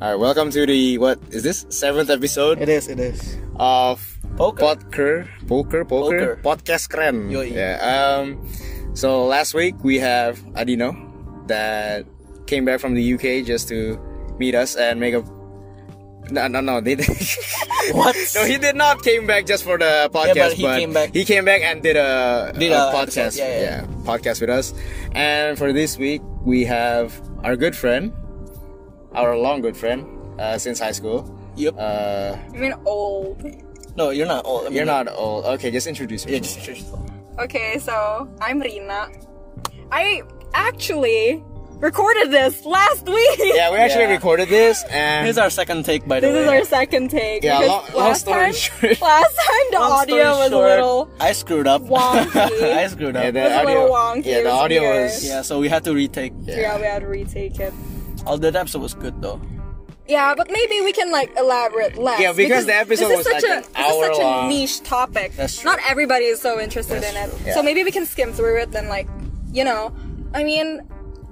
All right, welcome to the what is this seventh episode It is, it is. of Poker. Podker, poker, poker, Poker. podcast keren. Yoi. Yeah. Um. So last week we have Adino that came back from the UK just to meet us and make a. No, no, no. They, What? no, he did not came back just for the podcast, but he came back- he came back and did a, Did a a podcast. episode, yeah, yeah. podcast with us. And for this week, we have our good friend, our long good friend uh, since high school. Yep. Uh, You mean old? no, you're not old. I mean, you're not old. Okay, just introduce Yeah, yourself. just just- Okay, so I'm Rina. I actually recorded this last week. Yeah, we actually Yeah. recorded this, and This is our second take, by the This way. is our second take. Yeah, because long- long story time, short. Last time the Long story audio was short, a little. I screwed up. wonky. I screwed yeah, up. the was a audio. little wonky, yeah, it the was audio weird. was. Yeah, so we had to retake. Yeah. we had to retake it. All that episode was good though. Yeah, but maybe we can like elaborate less. Yeah, because the episode was, this is such like, a an this is such hour long. a niche topic. That's true. Not everybody is so interested That's in it. true. Yeah. So maybe we can skim through it then like, you know, I mean,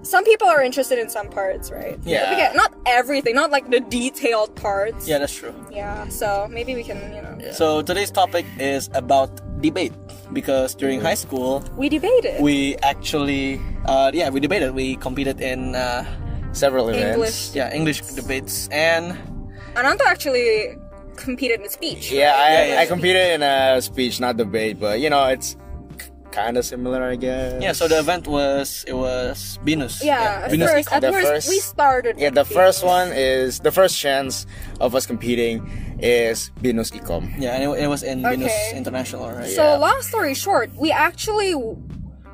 some people are interested in some parts, right? Yeah. We get- not everything, not like the detailed parts. Yeah, that's true. Yeah, so maybe we can, you know, So today's topic is about debate because during Mm-hmm. high school we debated we actually uh, yeah we debated we competed in uh, Several events. English. yeah English debates and Ananta actually competed in speech. Yeah, I, Yeah, yeah. I competed in a speech, not debate, but you know it's kind of similar, I guess. yeah so the event was it was Venus Yeah, at Venus first, Eco- at The first, first- we started. Yeah, with the speech. first one is the first chance of us competing is Binus Ecom. yeah and it, it was in Venus Okay. International right So Yeah. long story short, we actually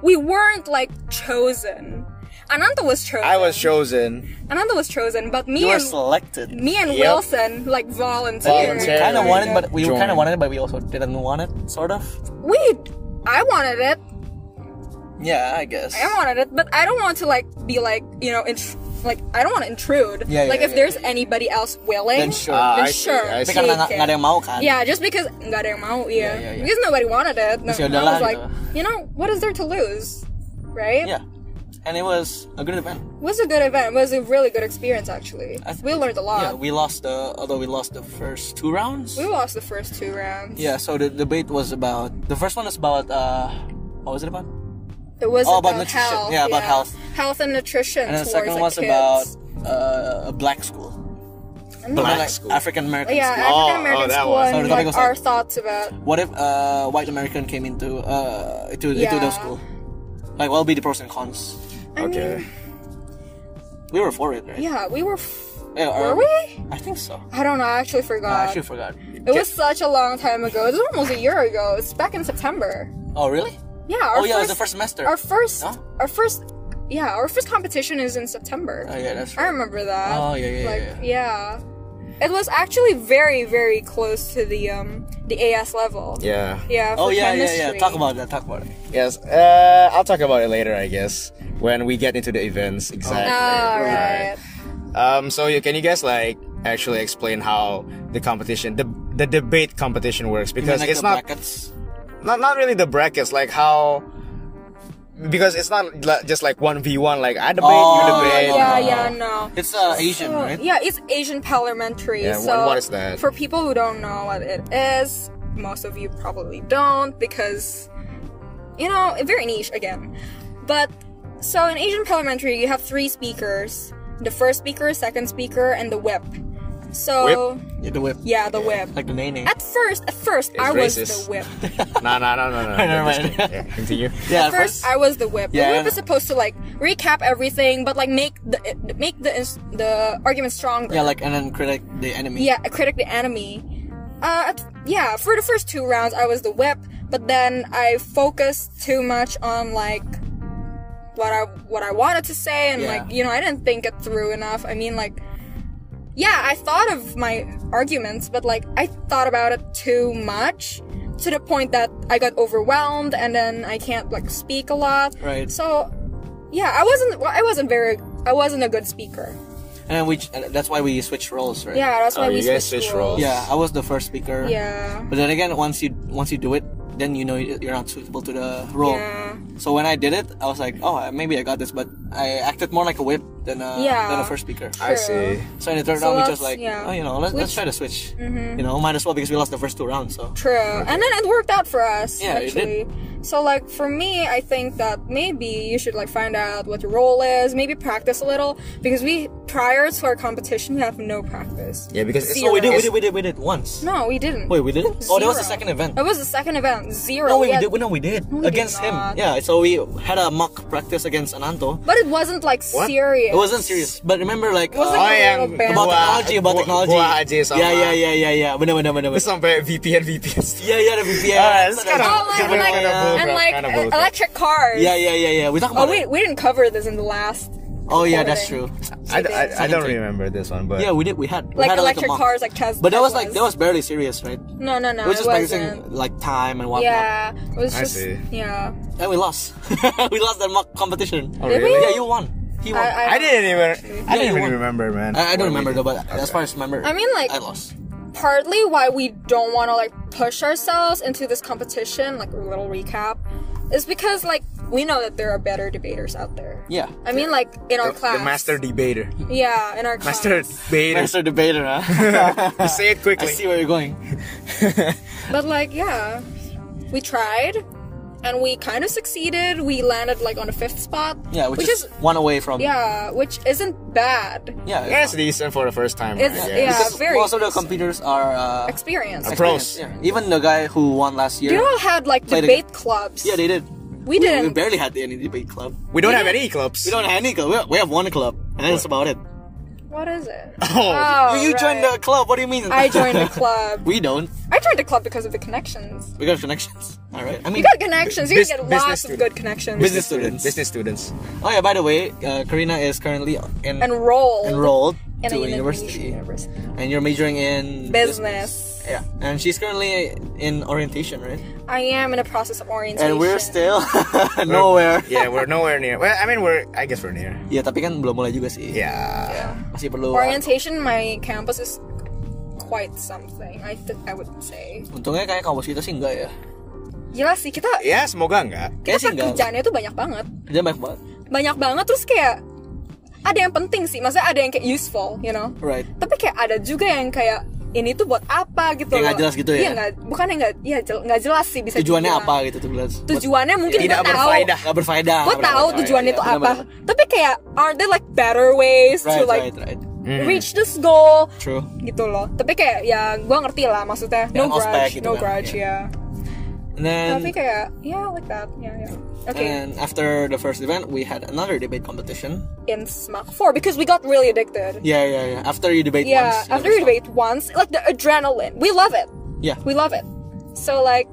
we weren't like chosen. Ananta was chosen. I was chosen. Ananta was chosen, but me you were and selected me and Yep. Wilson like volunteered. Volunteered. kind of Yeah. wanted, but we Join. kind of wanted, but we also didn't want it, sort of. We, I wanted it. Yeah, I guess. I wanted it, but I don't want to like be like you know int- like I don't want to intrude. Yeah, yeah, like if yeah, there's anybody else willing, Then sure. Ah, then I see, sure. I Tapi see. karena nggak take it. nggak ada yang mau kan. Yeah, just because nggak ada yang mau, yeah. yeah, yeah. Because nobody wanted it. No, Terus ya I udah lah, was like, gitu. you know, what is there to lose, right? Yeah. And it was a good event. It was a good event. It was a really good experience actually. I th- we learned a Yeah, lot. we lost the although we lost the first two rounds. we, lost the first two rounds. Yeah, so the debate was about the first one was about uh what was it about? It was Oh, about about, nutrition. health. Yeah, about health. Health and nutrition. And then the towards second the was kids. about uh, a black school. Black school. African American yeah, school. African American oh, that school one. So the and topic like was like- our thoughts about What if uh white American came into uh into into Yeah. those school? Like what would be the pros and cons? Okay. We were for it, right? yeah, we were f- Yeah, were or- we? I think so. I don't know, I actually Uh, I forgot. actually forgot. it was such a long time ago. It was almost a year ago. It's back in September. Oh really? Yeah, our oh yeah, it was the first- first semester. our first Huh? our first yeah our first competition is in september oh yeah, that's right. i remember that Oh, yeah, yeah, yeah, like yeah, it was actually very very close to the um the as level Yeah. yeah Oh for yeah, yeah, yeah. chemistry. Talk about that. Talk about it. Yes. Uh, I'll talk about it later, I guess, when we get into the events exactly. all right. Um. So, you, can you guys like actually explain how the competition, the the debate competition works? Because Like it's the not brackets. not not really the brackets, like how. Because it's not li- just like one v one. Like I debate, Oh, you debate. yeah, Oh. yeah, no. It's uh, Asian, So, right? Yeah, it's Asian parliamentary. Yeah, so what- what is that? For people who don't know what it is, most of you probably don't because you know, very niche again. But so in Asian parliamentary, you have three speakers: the first speaker, second speaker, and the whip. So Yeah, the whip. yeah, the whip. Like the nene. At first, at first, I was racist. the whip. No, no, no, no, no. Never Just mind. kidding. Yeah, continue. yeah, At first, I was the whip. Yeah. The whip is supposed to like recap everything, but like make the make the the argument stronger. yeah, like and then critic the enemy. Yeah, a critic the enemy. Uh, at- yeah, for the first two rounds, I was the whip, but then I focused too much on like what I what I wanted to say, and Yeah. like you know, I didn't think it through enough. I mean, like, yeah, I thought of my arguments, but like I thought about it too much to the point that I got overwhelmed, and then I can't like speak a lot. Right. So, yeah, I wasn't well, I wasn't very I wasn't a good speaker. And then we and that's why we switched roles, right? Yeah, that's why Oh, we you guys switched switched roles. roles. Yeah, I was the first speaker. Yeah. But then again, once you once you do it, then you know you're not suitable to the role. Yeah. So when I did it, I was like, oh, maybe I got this, but I acted more like a whip than a Yeah. than a first speaker. I True. see. So in the third So round, we let's- just like, yeah. Mm-hmm. oh, you know, let's, let's Switch. try to switch. You know, might as well because we lost the first two rounds. So True. And then it worked out for us, Yeah, it actually. did. So, like, for me, I think that maybe you should, like, find out what your role is, maybe practice a little, because we, prior to our competition, we have no practice. Yeah, because it's See, oh, we did, we It's- did, we did, we did once. No, we didn't. Wait, we did it? Oh, that was the Zero. second event. It was the second event. Zero. No, wait, We we had- did. We, no, we did we did against him. not. Yeah, so we had a mock practice against Ananto. But it wasn't, like, What? It serious. wasn't serious, but remember, like, wasn't uh, Oh, yang about gua- technology, about technology. Gua aja sama. yeah, yeah, yeah, yeah, yeah. Bener, bener, bener. bener. Sampai VPN VPN. Yeah, yeah, the VPN. Ah, it's kinda- Oh, like, Yeah, we like, were gonna vote, and bro. like Kinda vote, bro. electric cars. Yeah, yeah, yeah, yeah. We talk about Oh, we, it. we didn't cover this in the last. Oh, yeah, that's true. I, I, I don't Something. remember this one, but Yeah, we did. We had we Like had electric like, a mock. cars, like Tesla. But that was like that was barely serious, right? No, no, no. it was just it practicing wasn't. like time and whatnot. Yeah, it was I just see. yeah. And we lost. we lost that mock competition. Oh, Did really? Oh, we? Yeah, you won. He won. I, I, I I, didn't even. I Yeah, you didn't won. even remember, man. I, don't What we remember did. though, but as Okay. far as I remember, I mean, like- I lost. Partly why we don't want to like push ourselves into this competition. Like a little recap, is because like we know that there are better debaters out there. Yeah. I mean, like in our The- class. The master debater. Yeah, in our class. Master debater. Master debater, huh? Just say it I quickly. see where you're going. But like, yeah, we tried, and we kind of succeeded. We landed like on the fifth spot. Yeah, which, is, one away from. yeah, which isn't bad. Yeah. it's Yeah, fine. it's decent for the first time. It's- I yeah. guess. Because very most of the computers are uh, Experience. pro- pros. Yeah. Even the guy who won last year. You all had like Played debate clubs. yeah, they did. We we didn't. barely had any debate club. We don't have any clubs. We don't have any club. We we have one club, and that's about it. what is it? Oh. you you joined right. the club. What do you mean? I joined the club. we don't. I joined the club because of the connections. We got connections. All right. I mean, You got connections. You Bus- can get business lots of student. good connections. Business- students. Business students. students. oh yeah. By the way, uh, Karina is currently in, Enrolled. enrolled in to a a university, university. and you're majoring in Business. Yeah. And she's currently in orientation, right? I am in a process of And orientation. we're still nowhere. Yeah, we're nowhere near. Well, I mean, we're. I guess we're near. Ya, tapi kan belum mulai juga sih. Yeah. Masih perlu. Orientation, my campus is quite something. I th- I would say. Untungnya kayak kampus kita sih enggak ya. Gila sih kita Ya, semoga enggak. Iya, Kayak sih kita enggak. pekerjaannya tuh banyak banget. Kerjaan banyak banget. Banyak banget terus kayak ada yang penting sih, maksudnya ada yang kayak useful, you know. Right. tapi kayak ada juga yang kayak ini tuh buat apa gitu Kayak loh. nggak jelas gitu ya? Iya nggak, bukan yang nggak, iya jel- nggak jelas sih bisa. Tujuannya dibilang. apa gitu tuh jelas. Tujuannya mungkin Tidak gue tahu. berfaedah. Gak berfaedah. Gue nggak tahu berfaedah. tujuannya Iya, itu benar-benar. apa. Tapi kayak are there like better ways to Right, like right, Mm. right. reach this goal True. gitu loh. Tapi kayak ya gue ngerti lah maksudnya. Yang No ospek grudge, gitu no kan, grudge iya. ya. And then, Tapi kayak yeah like that, yeah yeah. Okay, and after the first event, we had another debate competition. in Smack 4 because we got really addicted. Yeah, yeah, yeah. After you debate Yeah, once. after we debate once, like the adrenaline, we love it. Yeah. We love it. So like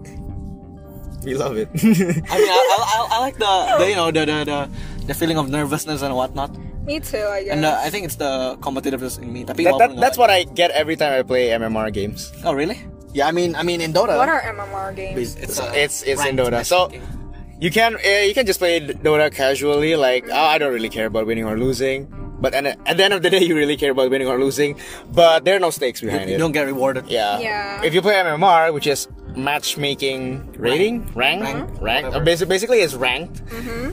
We love it. I mean, I, I, I- I like the, the you know the, the the the feeling of nervousness and whatnot. Me too, I guess. And uh, I think it's the competitiveness in me. Tapi That- that- walaupun that's nggak- what I get every time I play MMR games. Oh really? Yeah, I mean, I mean in Dota. what are MMR games? It's So uh, it's it's in ranked Dota. So matchmaking. you can uh, you can just play Dota casually, like oh, I don't really care about winning or losing. But and at the end of the day, you really care about winning or losing. But there are no stakes behind you it. don't get rewarded. Yeah. Yeah. If you play MMR, which is matchmaking rating, rank, rank, Rank, rank. whatever. Basically, basically it's ranked.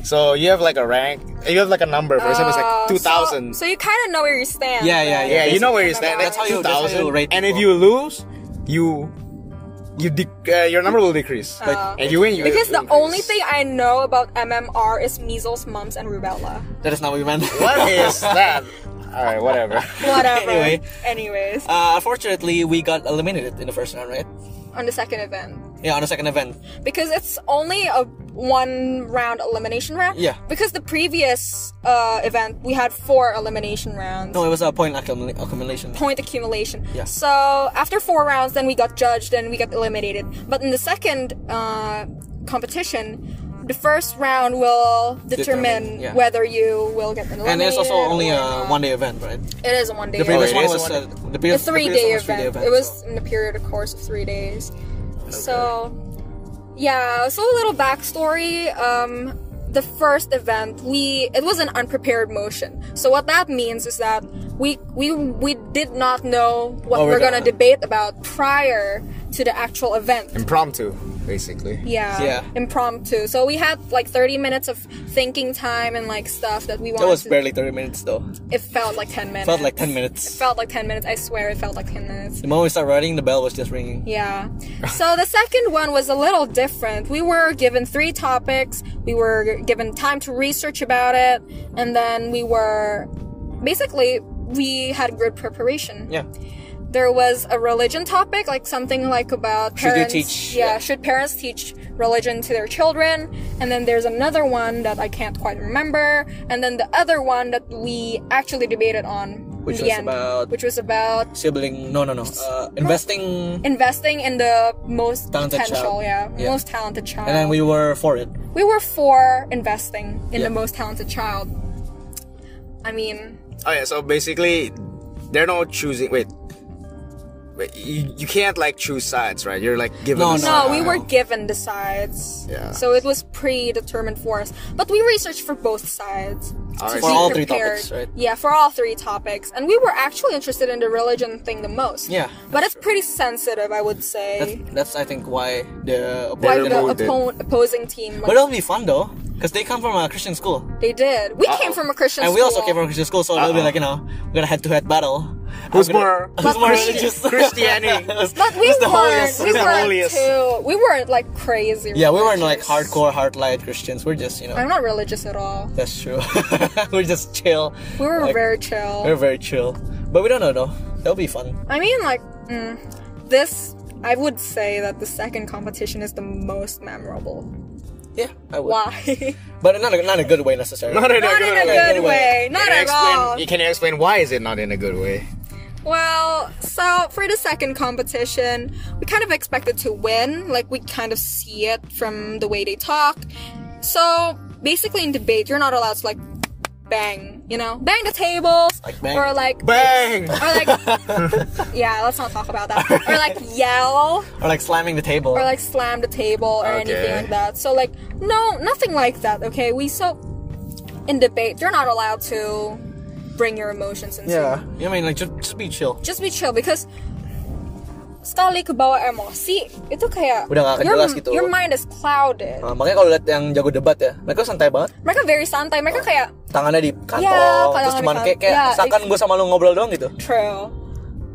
So you have like a rank. You have like a number. For example, it's Mm-hmm. Oh, like two thousand. So, so you kind of know where you stand. Yeah, yeah, then. yeah, you know where you stand. That's how you- that's how you 2000, rate And if people. you lose, you you dec- uh, your number will decrease. Uh, and you win, you Because the increase. only thing I know about MMR is measles, mumps, and rubella. That is not what we meant. What is that? All right, whatever. Whatever. Anyway. Anyways, Uh, unfortunately, we got eliminated in the first round, right? on the second event. Yeah, on the second event. Because it's only a one round elimination round. Yeah. Because the previous uh, event, we had four elimination rounds. No, it was a point accumula- accumulation. point accumulation. Yeah. So after four rounds, then we got judged and we got eliminated. But in the second uh, competition, the first round will determine, Determine, yeah. whether you will get eliminated. And it's also only or a not. one-day event, right? It is a one day. The previous it one is a was one-day- uh, the a previous, the three previous day one was event. three-day event. It was so- in a period of course of three days. So, yeah. So a little backstory. Um, the first event, we it was an unprepared motion. So what that means is that we we we did not know what What Oh, we're we're gonna gonna- debate about prior to the actual event. Impromptu. basically. Yeah, Yeah. impromptu. So we had like 30 minutes of thinking time and like stuff that we wanted. That was to- barely 30 minutes though. It felt like 10 minutes. Felt like 10 minutes. Felt like 10 minutes. I swear, it felt like 10 minutes. The moment we started writing, the bell was just ringing. Yeah. So the second one was a little different. We were given three topics. We were given time to research about it, and then we were basically we had good preparation. Yeah. there was a religion topic, like something like about Should you parents. teach- Yeah, yeah. should parents teach religion to their children? And then there's another one that I can't quite remember. And then the other one that we actually debated on, Which in the was end, about- which was about Sibling, no, no, no. Uh, investing, investing in the most Talented potential, child. yeah, Yeah. most talented child. and then we were for it. we were for investing in Yeah. the most talented child. I mean, Oh yeah, so basically, they're not choosing. Wait, wait you, you can't like choose sides, right? You're like given. No, a no. side. No, we Wow. were given the sides. Yeah. So it was predetermined for us. But we researched for both sides. to Alright. be For all three prepared. topics, right? Yeah, for all three topics. And we were actually interested in the religion thing the most. Yeah, But it's pretty sensitive, I would That's, say. that's I think, why the Why They opponent. the removed it. oppo- opposing team, But um, like, it'll be fun though, because they come from a Christian school. they did. We came from a Christian uh, And we school. also came from a Christian school, so it'll be Uh-oh. like, you know, we're gonna head to head battle. Who's I'm gonna- more- Who's more Christi- religious? Christianity. Who's- But we who's the weren't, holiest? we weren't holiest. too, we weren't like crazy Yeah, we weren't like religious. hardcore, hard light Christians. We're just, you know, I'm not religious at all. that's true. we're just chill. We were Like, very chill. We're very chill. But we don't know though. That'll be fun. I mean, like, mm, this, I would say that the second competition is the most memorable. Yeah, I would. Why? But not a, not a good way necessarily. Not in a not in a good way. way. good way. Not Can you at explain- all. you- Can you explain why is it not in a good way? Well, so for the second competition, we kind of expected to win. Like, we kind of see it from the way they talk. So, basically, in debate, you're not allowed to, like, bang, you know? Bang the tables. Like bang. Or, like, Bang! or, like, yeah, let's not talk about that. Or, like, yell. Or like slamming the table. or like slam the table or anything Okay. like that. So like no, nothing like that. Okay, we so in debate you're not allowed to bring your emotions into. yeah. You know what I mean like just, just be chill. Just be chill because sekali kebawa emosi itu kayak Udah nggak akan your, jelas gitu. your mind is clouded. Uh, makanya kalau lihat yang jago debat ya, mereka santai banget. Mereka very santai. Mereka kayak Tangannya di kantong, kadang-kadang terus cuman di kayak, kayak kantong. Ya, seakan gue sama lu ngobrol doang gitu. true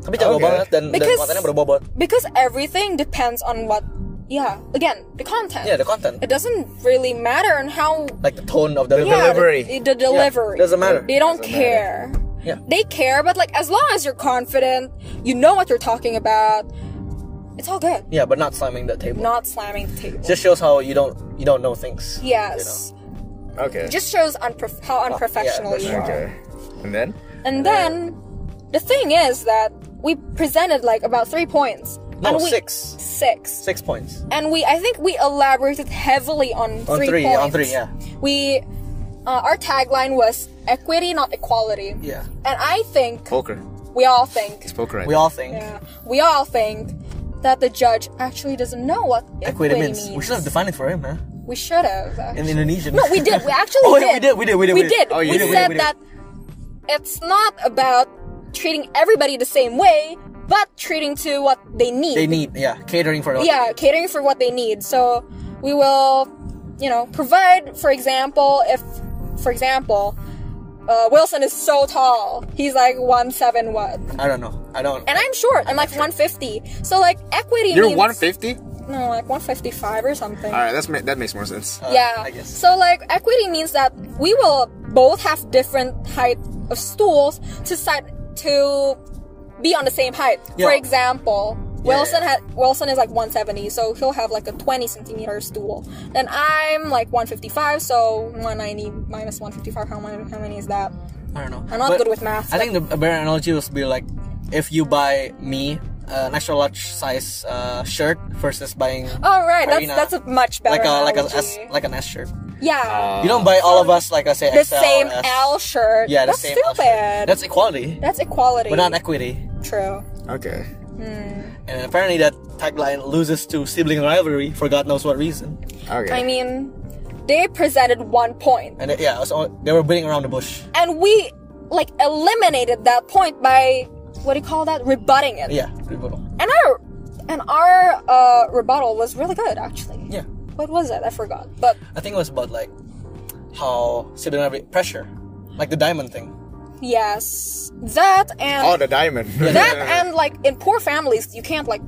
Tapi jago Okay. banget dan, Because- dan matanya berbobot. because everything depends on what. Yeah, again the content. Yeah, the content. It doesn't really matter on how like the tone of the Yeah, delivery. Delivery. The, the delivery. doesn't matter. They don't Doesn't care. Yeah. They care, but like as long as you're confident, you know what you're talking about. It's all good. Yeah, but not slamming the table. Not slamming the table. Just shows how you don't you don't know things. yes. Okay. Just shows unprof- how unprofessional that's you are. okay. And then? And then the thing is that we presented like about three points. No, and we, six. Six. Six points. And we, I think we elaborated heavily on, On three, three, points. on three, yeah. We, uh, our tagline was equity, not equality. Yeah. Oh. And I think Poker. we all think It's poker, right? We all think yeah, we all think that the judge actually doesn't know what equity means. We should have defined it for him, huh? We should have, In actually. Indonesian. no, we did. We actually Oh, did. yeah, we did, we did, we did, We we did. did. Oh, you we did, we said did, we that it's not about treating everybody the same way, but treating to what they need. they need yeah catering for Yeah, catering for what they need. So we will, you know, provide, for example, if, for example, uh, Wilson is so tall. He's like 171. I don't know. I don't. and I'm short. I'm like 150. So like equity. You're means, 150? No, like 155 or something. Alright, that's ma- that makes more sense. uh, Yeah. I guess. So like equity means that we will both have different height of stools to side to be on the same height. For Yeah. example, Wilson had Wilson is like 170, so he'll have like a 20 centimeter stool. Then I'm like 155, so 190 minus 155. How many? How many is that? I don't know. I'm not good with math, I think the a better analogy would be like if you buy me uh, an extra large size uh, shirt versus buying All right, that's Karina. that's a much Oh, better. like a like a S, analogy. like an S shirt. Uh, yeah. you don't buy all of us like I say the XL, same S. L shirt. Yeah, the that's same L shirt. stupid. That's equality, That's equality. but not equity. true. Okay. And apparently that tagline loses to sibling rivalry for God knows what reason. Okay. I mean, they presented one point, And it- yeah, so they were beating around the bush. and we like eliminated that point by what do you call that? Rebutting it. Yeah, rebuttal. And I, And our uh, rebuttal was really good, actually. Yeah. What was it? I forgot. But I think it was about like how Sibinabi pressure, like the diamond thing. yes, that and Oh, the diamond. that and like in poor families, you can't like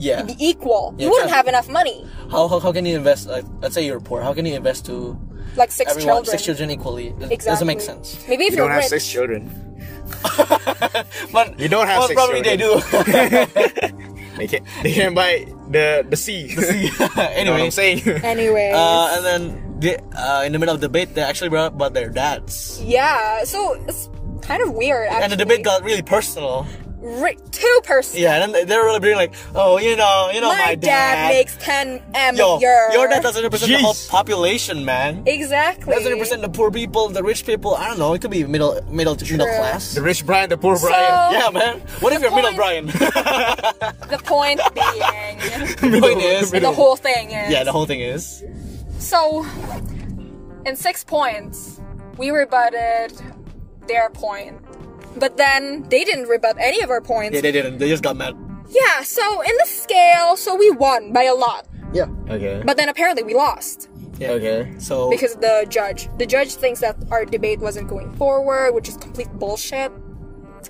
Yeah. be equal. Yeah, you wouldn't exactly. have enough money. How, how, how can you invest? Like, let's say you're poor. How can you invest to Like six everyone, children. six children equally? It doesn't make sense. Maybe if You are don't have rich, six children. But You don't have well, six probably they do. They can't. They can't buy the the sea. The you know what anyway, I'm saying? Anyway. uh, and then they, uh, in the middle of debate, they actually brought up about their dads, yeah. So it's kind of weird. Actually. and the debate got really personal. Ri- two person. Yeah, and then they were really being like, "Oh, you know, you know, my, My, dad, makes 10 m yo, a year. your dad doesn't represent the whole Jeez. population, man." exactly. doesn't represent the poor people, the rich people. I don't know. It could be middle, middle, to middle class. The rich Brian, the poor So Brian. Yeah, man. What if you're middle Brian? point- the point being, the point is, the whole thing is. yeah, the whole thing is. So, in six points, we rebutted their point. But then they didn't rebut any of our points. Yeah, they didn't. They just got mad. Yeah, so in the scale, so we won by a lot. Yeah. Okay. But then apparently we lost Okay. So because of the judge. The judge thinks that our debate wasn't going forward, which is complete bullshit.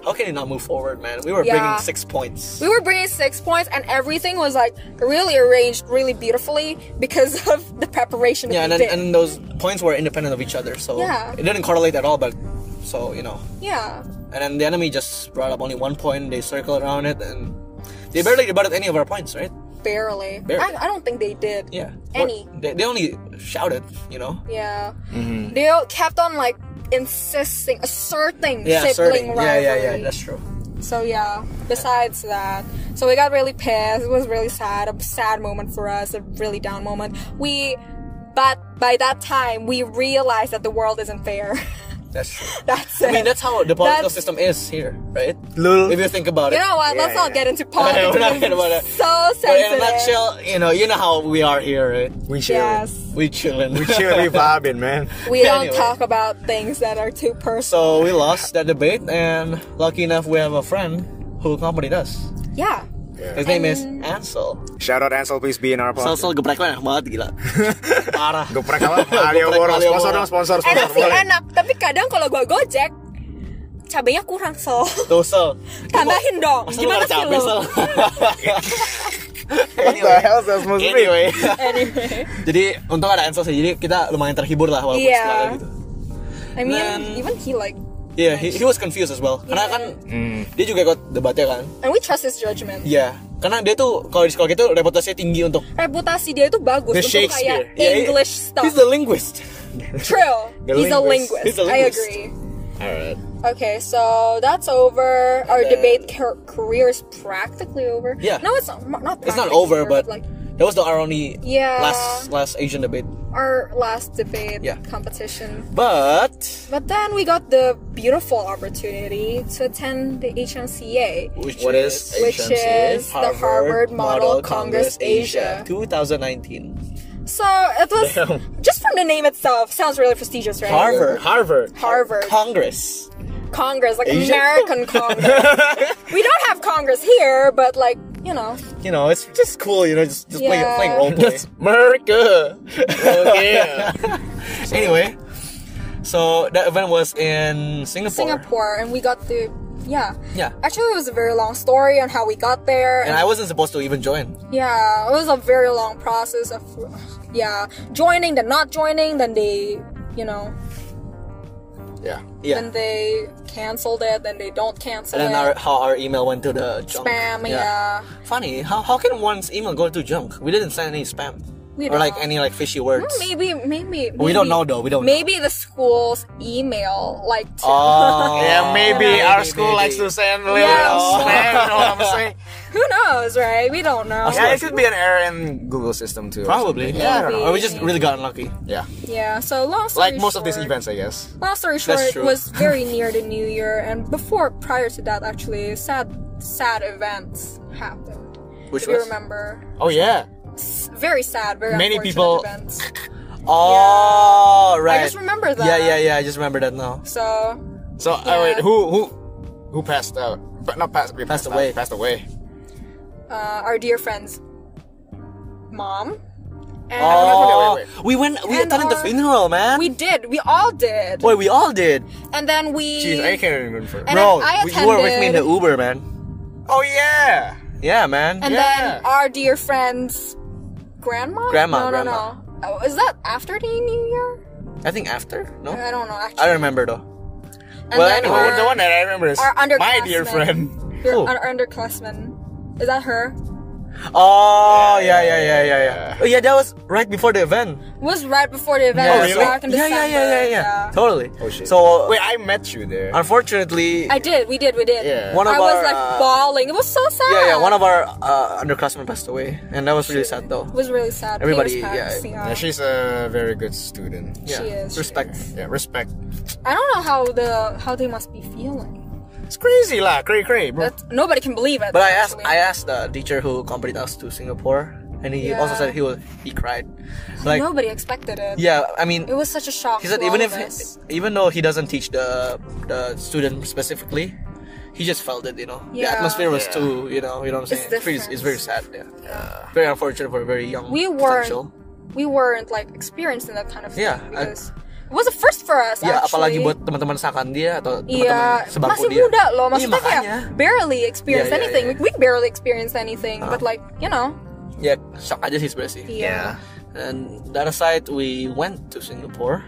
how can you not move forward, man? We were Yeah. bringing six points. We were bringing six points, and everything was like really arranged really beautifully because of the preparation Yeah, and that then, we did. and those points were independent of each other, so Yeah. it didn't correlate at all. But so you know, yeah, and then the enemy just brought up only one point. They circled around it, and they barely rebutted any of our points, right? barely. Barely. I, I don't think they did. Yeah. Any. They, they only shouted, you know. Yeah. Mm-hmm. They all kept on like insisting, asserting Yeah, sibling asserting. Yeah, rivalry. yeah, yeah. That's true. so yeah. Besides that, so we got really pissed. It was really sad, a sad moment for us, a really down moment. We, but by that time, we realized that the world isn't fair. That's true. That's it. I mean, that's how the political That's- system is here, right? Lul. If you think about you it. know what? Yeah, Let's not yeah. get into politics. we're not gonna wanna- So But in a sensitive. nutshell, you know, you know how we are here, right? We chilling. yes, We chilling. We chilling. We vibing, man. we don't Anyway. talk about things that are too personal. so we lost that debate, and lucky enough, we have a friend who accompanied us. yeah. His name is Ansel. Shout out Ansel, please be in our podcast. Ansel geprek enak banget gila. Parah. Geprek apa? Alio Geprek Woro. Alio Sponsor Woro. dong, sponsor, sponsor. enak sih Boleh. enak tapi kadang kalau gua gojek cabenya kurang so Tuh, Sel. tambahin dong Masa lu gak gimana sih capek, lu Sel? What the hell does supposed to be? anyway. anyway jadi, untung ada Ansel sih. Jadi kita lumayan terhibur lah walaupun Iya. segala gitu. I mean Then- even he like Iya, he, he was confused as well. Karena Iya. kan Hmm. dia juga ikut debatnya kan. and we trust his judgment Iya, karena dia tuh kalau di sekolah gitu reputasinya tinggi untuk reputasi dia itu bagus The untuk Shakespeare. kayak Iya, iya. English stuff He's the linguist. true The he's, a linguist. linguist. He's a I linguist. agree Alright. okay so that's over our Then- debate car- career is practically over Yeah. no it's not not It's not practically over, but like that was the our only Yeah. last last Asian debate. our last debate Yeah. competition But But then we got the beautiful opportunity to attend the HMCA, which What is which is the Harvard Model Congress Asia. 2019. So it was Damn. just from the name itself sounds really prestigious, right? Harvard Harvard. Harvard Congress. Congress, like Asia? American Congress. we don't have Congress here, but like you know, You know, it's just cool. You know, just just Yeah. playing, playing role play. That's America. Okay. anyway, so that event was in Singapore. Singapore, and we got the yeah. Yeah. Actually, it was a very long story on how we got there. And I wasn't supposed to even join. Yeah, it was a very long process of, yeah, joining, then not joining, then they, you know, Yeah. Yeah. then they canceled it, then they don't cancel and then it. our, how our email went to the junk. spam, yeah. Funny, how, how can one's email go to junk? We didn't send any spam. We or like don't. any like fishy words. Maybe, maybe, maybe. We don't know though, we don't know. Maybe the school's email, like. To, Oh. Yeah, maybe Maybe, our school maybe. likes to send a little Yeah. spam, you know what I'm saying? who knows, right? We don't know. Yeah, it could be an error in Google system too. or Probably. something. Yeah, I don't know. Or we just really got unlucky. Yeah. Yeah. So long story Like most of these short- events, I guess. Long story short, it true. was very near the new year, and before, prior to that, actually, sad, sad events happened. Which if you was? remember, Oh yeah. S- very sad, very Many unfortunate people- Events. Oh right. I just remember that. Yeah, yeah, yeah. I just remember that now. So So uh, Yeah. wait, who who who passed out? uh, But not passed. we Passed out, away. Passed away. uh, our dear friend's mom. And I don't know Oh, who they were with. we went. We And attended the our- funeral, man. we did. We all did. Boy, we all did. And then we. Jeez, I can't even remember. And- Bro, I we- you were with me in the attended- Uber, man. oh yeah. Yeah, man. and yeah. then our dear friend's grandma. Grandma, No, no, grandma. no. Oh, is that after the New Year? I think after. No, I don't know. Actually, I don't remember though. And well, then anyway, our- Oh, the one that I remember is our my dear underclassmen. friend. Your Who? un- underclassman. Is that her? Oh yeah, yeah, yeah, yeah, yeah. Yeah. Oh yeah, that was right before the event. Was right before the event. Oh, it was really? back in yeah, yeah, yeah, yeah, yeah, December, Totally. Oh, shit. So Wait, I met you there. unfortunately, I did. We did. We did. Yeah. one of I our was like uh, bawling. It was so sad. yeah, yeah, one of our uh, underclassmen passed away, and that was really sad though. It was really sad. Everybody, Pain was packed, yeah. yeah, she's a very good student. Yeah, She is, she respect. Yeah, respect. I don't know how the how they must be feeling. It's crazy lah, cray cray, bro. That's, nobody can believe it. But I asked, I actually. asked the teacher who accompanied us to Singapore, and he also Yeah. said he was he cried. Like nobody expected it. yeah, I mean, It was such a he shock. said to even all if of us. even though he doesn't teach the the student specifically. He just felt it, you know. The Yeah. atmosphere was Yeah. too, you know, you know what I'm It's saying. very, it's very sad, yeah. Yeah. Very unfortunate for a very young We weren't- potential. we weren't like experienced in that kind of thing. Yeah, I- because it was a first for us. Ya apalagi actually. buat teman-teman seakan dia atau teman-teman Iya, sebangku masih dia. muda loh. Iya, Maksudnya kayak makanya. barely experienced Iya, iya, anything. iya. We barely experienced anything, but Uh-huh. like you know, Ya shock aja sih sebenarnya sih. yeah. And the other side we went to Singapore.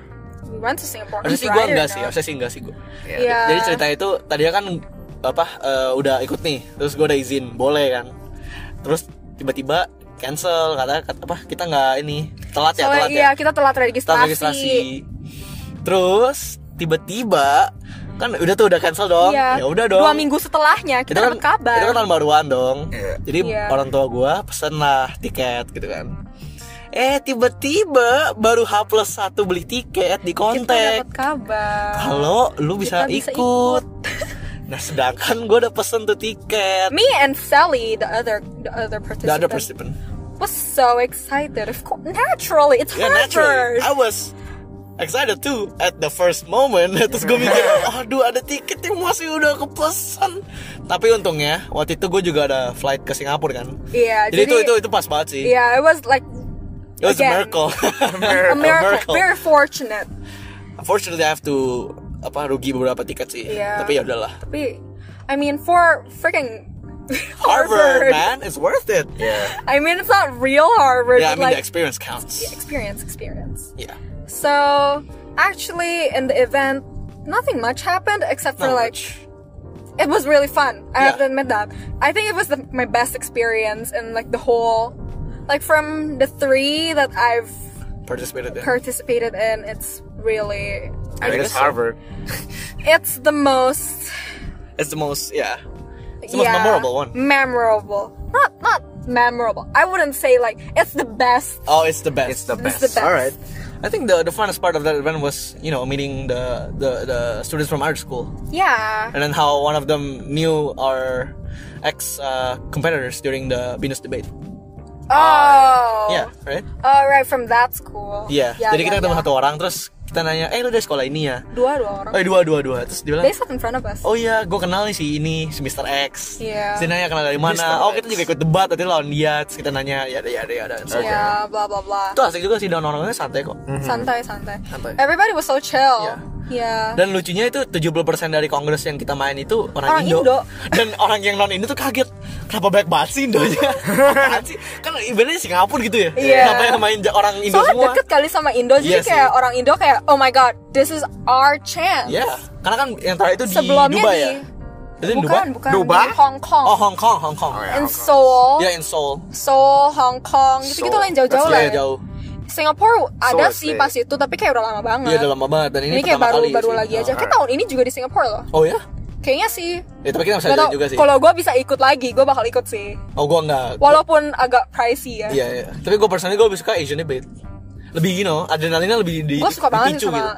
We went to Singapore. Harusnya sih I'm gua brighter enggak sih, now. harusnya sih enggak sih gua. Yeah. Jadi cerita itu tadinya kan apa eh, udah ikut nih, terus gua udah izin boleh kan. Terus tiba-tiba cancel kata, kata apa kita nggak ini telat ya So, telat iya, ya. kita telat registrasi. Telat registrasi. Terus tiba-tiba kan udah tuh udah cancel dong. Iya. Ya udah dong. Dua minggu setelahnya kita dapat kabar. Itu kan tahun baruan dong. Iya. Jadi Iya. orang tua gua pesen lah tiket gitu kan. Eh tiba-tiba baru H plus satu beli tiket di kita kontak. dapat kabar. Halo, lu bisa, Kita bisa ikut. Nah sedangkan gua udah pesen tuh tiket. Me and Sally, the other the other Gak participant, ada participant. was so excited. Of course, naturally, it's Ya naturally, Harvard. I was excited too at the first moment. Terus gue mikir, aduh ada tiket yang masih udah kepesan. Tapi untungnya waktu itu gue juga ada flight ke Singapura kan. Iya, Jadi, itu jadi- itu itu pas banget sih. Yeah, it was like It was a Again. miracle. a miracle. miracle. Very fortunate. Unfortunately, I have to apa rugi beberapa tiket sih. Iya. Tapi ya udahlah. Tapi, I mean, for freaking Harvard, Harvard, man, it's worth it. yeah. I mean, it's not real Harvard, Yeah, I but mean the like experience counts. experience, experience. Yeah. So, actually, in the event, nothing much happened except for Not like much. it was really fun. I have to Yeah. admit that. I think it was the, my best experience in like the whole, like from the three that I've participated in. participated in. It's really, I think it's guess so. Harvard. it's the most it's the most yeah. It's the most memorable one. Memorable. Not not memorable. I wouldn't say like it's the best. Oh, it's the best. It's the It's best. the best. All right. I think the the funnest part of that event was you know meeting the the, the students from art school Yeah. and then how one of them knew our ex uh, competitors during the Venus debate. Oh. Uh, Yeah, right. All right, from that school. Iya. Yeah, Jadi yeah, kita ketemu yeah. satu orang terus kita nanya, eh lu dari sekolah ini ya? Dua dua orang. Oh dua dua dua. Terus dia bilang, They sat in front of us. oh iya gue kenal nih si ini si Mr. X. Iya. Si nanya kenal dari mana? Mr. Oh X. kita juga ikut debat tadi lawan dia. Terus kita nanya, ya ada ya ada ya ada. So, Yeah. Blah blah blah. Mm-hmm. Itu asik juga sih dan orangnya santai kok. Santai santai. Santai. Everybody was so chill. Yeah. Yeah. Dan lucunya itu 70% dari kongres yang kita main itu orang, Orang Indo. Dan orang yang non Indo tuh kaget. Kenapa banyak banget sih Indonya? Apaan sih? Kan eventnya Singapura gitu ya. Iya. Kenapa yang main ja- orang Indo Soalnya semua? deket kali sama Indo, Iya jadi sih. kayak orang Indo kayak, oh my god, this is our chance. Iya. Karena kan yang terakhir itu di Sebelumnya Dubai di- ya. Itu di Bukan, Dubai? bukan. Dubai? di Hong Kong. Oh Hong Kong, Hong Kong. yeah. Hong in Kong. Seoul. Ya in Seoul. Seoul, Hong Kong, gitu-gitu Seoul. lah yang jauh-jauh Iya, lah. ya. jauh. Singapura ada Seoul sih SD. pas itu, tapi kayak udah lama banget. Iya udah lama banget dan ini, ini, kayak pertama baru kali baru sih. lagi aja. Oh. Kayak tahun ini juga di Singapura loh. Oh ya? Kayaknya sih. Ya tapi kita bisa Gak tau, jalan juga sih. kalau gue bisa ikut lagi, gue bakal ikut sih. Oh gua enggak. Walaupun agak pricey ya. Iya, iya. Tapi gue personally gue lebih suka Asian debate. Lebih you know, adrenalinnya lebih di Gua suka banget dipicu sih sama gitu.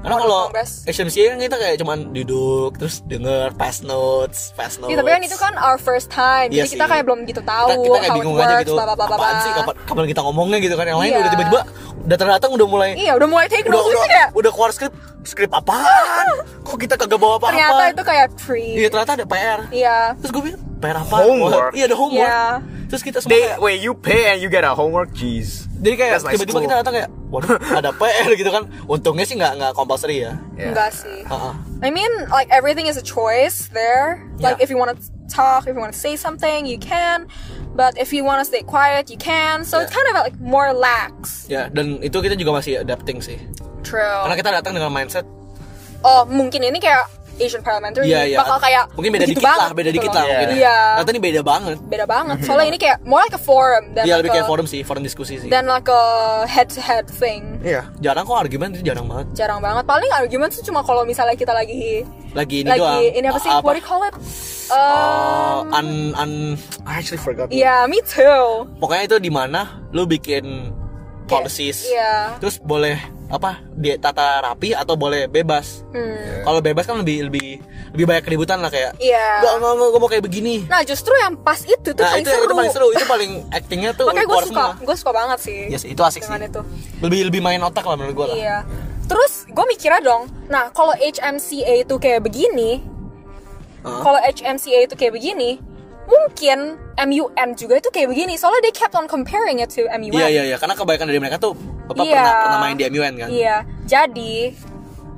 Karena Model kalau Congress. Asian MCA kan kita kayak cuman duduk, terus denger pass notes, pass notes. Iya, tapi kan itu kan our first time, Iya jadi kita sih. kayak belum gitu kita, tahu kita kayak how it bingung works, aja gitu. bla bla bla bla. Apaan bla. sih kapan, kapan kita ngomongnya gitu kan. Yang lain Iya. udah tiba-tiba datang datang udah mulai Iya, udah mulai take udah notes udah, gitu kayak. udah keluar skrip, skrip apaan? Kok kita kagak bawa apa-apa? Ternyata itu kayak pre. Iya, ternyata ada PR. Iya. Terus gue bilang, PR apa? Homework. Iya, ada homework. Yeah. Terus kita semua They kayak- wait, you pay and you get a homework. Jeez. jadi kayak That's my tiba-tiba school. kita datang kayak, waduh, ada PR gitu kan. Untungnya sih nggak nggak compulsory ya. Yeah. Enggak sih. Heeh. I mean, like everything is a choice there. Like Yeah. if you want to talk, if you want to say something, you can. But if you want to stay quiet, you can. So it's Yeah. kind of like more lax. Ya, dan itu kita juga masih adapting sih. True. Karena kita datang dengan mindset Oh, mungkin ini kayak Asian parliamentary Iya, iya. bakal kayak Mungkin beda begitu dikit lah, banget beda gitu dikit loh. lah mungkin. Iya. Ternyata ini "Nah, beda banget. Beda banget. Soalnya ini kayak more like a forum than Dia like lebih kayak a, forum sih, forum diskusi sih. than like a head-to-head thing. Iya. Jarang kok argumen itu jarang banget. Jarang banget. Paling argument tuh cuma kalau misalnya kita lagi Lagi ini lagi doang. ini apa sih? A- What do you call it? Oh, Um, un, un, I actually forgot. yeah, me too. Pokoknya itu di mana lu bikin Kayak- policies. iya. Terus boleh apa? Dia tata rapi atau boleh bebas. Hmm. Kalau bebas kan lebih lebih lebih banyak keributan lah kayak. Iya. Gak nggak nggak, gua mau kayak begini. Nah justru yang pas itu tuh Nah, paling itu seru. itu paling seru, itu paling actingnya tuh Makanya gue keluar suka, semua. gue suka banget sih. Yes, iya. itu asik dengan sih. itu. Lebih lebih main otak lah menurut gua lah. Iya. Terus gue mikirnya dong, nah kalau HMCA itu kayak begini, Heeh. kalau HMCA itu kayak begini, mungkin MUN juga itu kayak begini. Soalnya they kept on comparing it to MUN. Iya iya iya karena kebanyakan dari mereka tuh bapak Iya. pernah pernah main di MUN kan. Iya. Jadi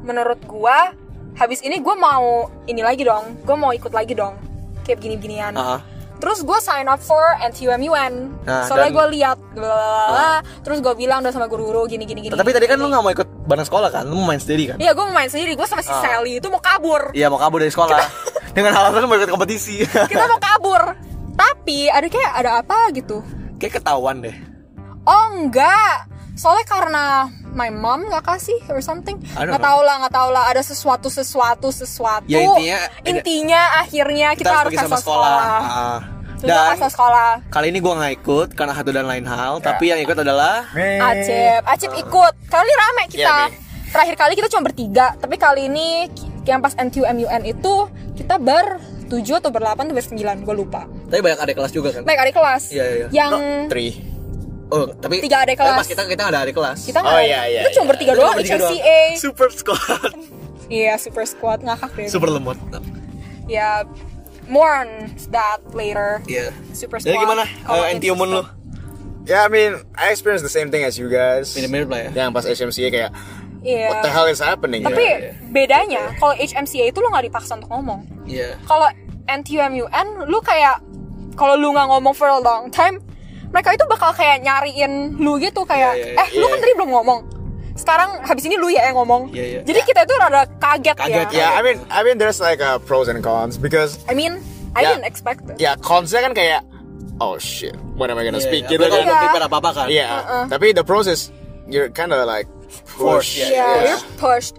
menurut gua habis ini gua mau ini lagi dong. Gua mau ikut lagi dong. Kayak begini-beginian. Aha. Terus gua sign up for NTUMUN. Nah, Soalnya dan- Oh. gua lihat bla bla, bla, bla. terus gua bilang udah sama guru-guru gini-gini gini. Tapi tadi kan lu nggak mau ikut bareng sekolah kan, lu mau main sendiri kan? Iya, gua mau main sendiri. Gua Ah. sama si Sally itu mau kabur. Iya mau kabur dari sekolah dengan alasan mau ikut kompetisi. Kita mau kabur. Tapi ada kayak ada apa gitu. Kayak ketahuan deh. Oh enggak, soalnya karena my mom nggak kasih or something. I don't Nggak tahu lah, nggak tahu lah. Ada sesuatu, sesuatu, sesuatu. Ya, intinya ada- Intinya akhirnya kita, Kita, harus pergi sama kasih sekolah. sekolah. Ah. Terus kita Dan kasih sekolah. Iya. kali ini gua nggak ikut karena satu dan lain hal, tapi yang ikut adalah Man. Acep, Acep ikut. Kali ini rame Ya, kita. Iya, Terakhir kali kita cuma bertiga, tapi kali ini ki- yang pas NTUMUN itu kita ber 7 atau berdelapan atau bersembilan, gue lupa. tapi banyak adik kelas juga kan. Baik adik kelas. Iya, iya, iya. Yang Three. Oh, tapi Tiga adik tapi kelas. pas kita kita nggak ada adik kelas. kita Oh, nggak- iya, iya, kita cuma iya. bertiga Kita doang, bertiga doang. HMCA. Super squad. Iya, super squad ngakak deh. Super lemot. Yeah, Ya, more on that later. Iya. Super Jadi squad. gimana Oh, eh, anti-human lu? Yeah, I mean, I experienced the same thing as you guys. Mirip-mirip lah ya. Yang pas HMCA kayak, Iya. what the hell is happening? Tapi here? bedanya kalau HMCA itu lu nggak dipaksa untuk ngomong. Iya. Kalau NTUMUN lu kayak kalau lu nggak ngomong for a long time, mereka itu bakal kayak nyariin lu gitu kayak Iya, iya, eh lu iya. kan tadi belum ngomong. Sekarang habis ini lu ya yang ngomong. Iya, iya. Jadi kita itu rada kaget, Kaget, iya. ya. Yeah, I mean, I mean, there's like uh, pros and cons because I mean, I Ya. didn't expect it. yeah, consnya kan kayak, oh shit, when am I gonna speak? Iya, Gitu kan? apalagi kalau belum prepare apa-apa kan. Yeah. Uh-uh. Tapi the process, you're kind of like forced. Forced, yeah, Yeah, we're pushed.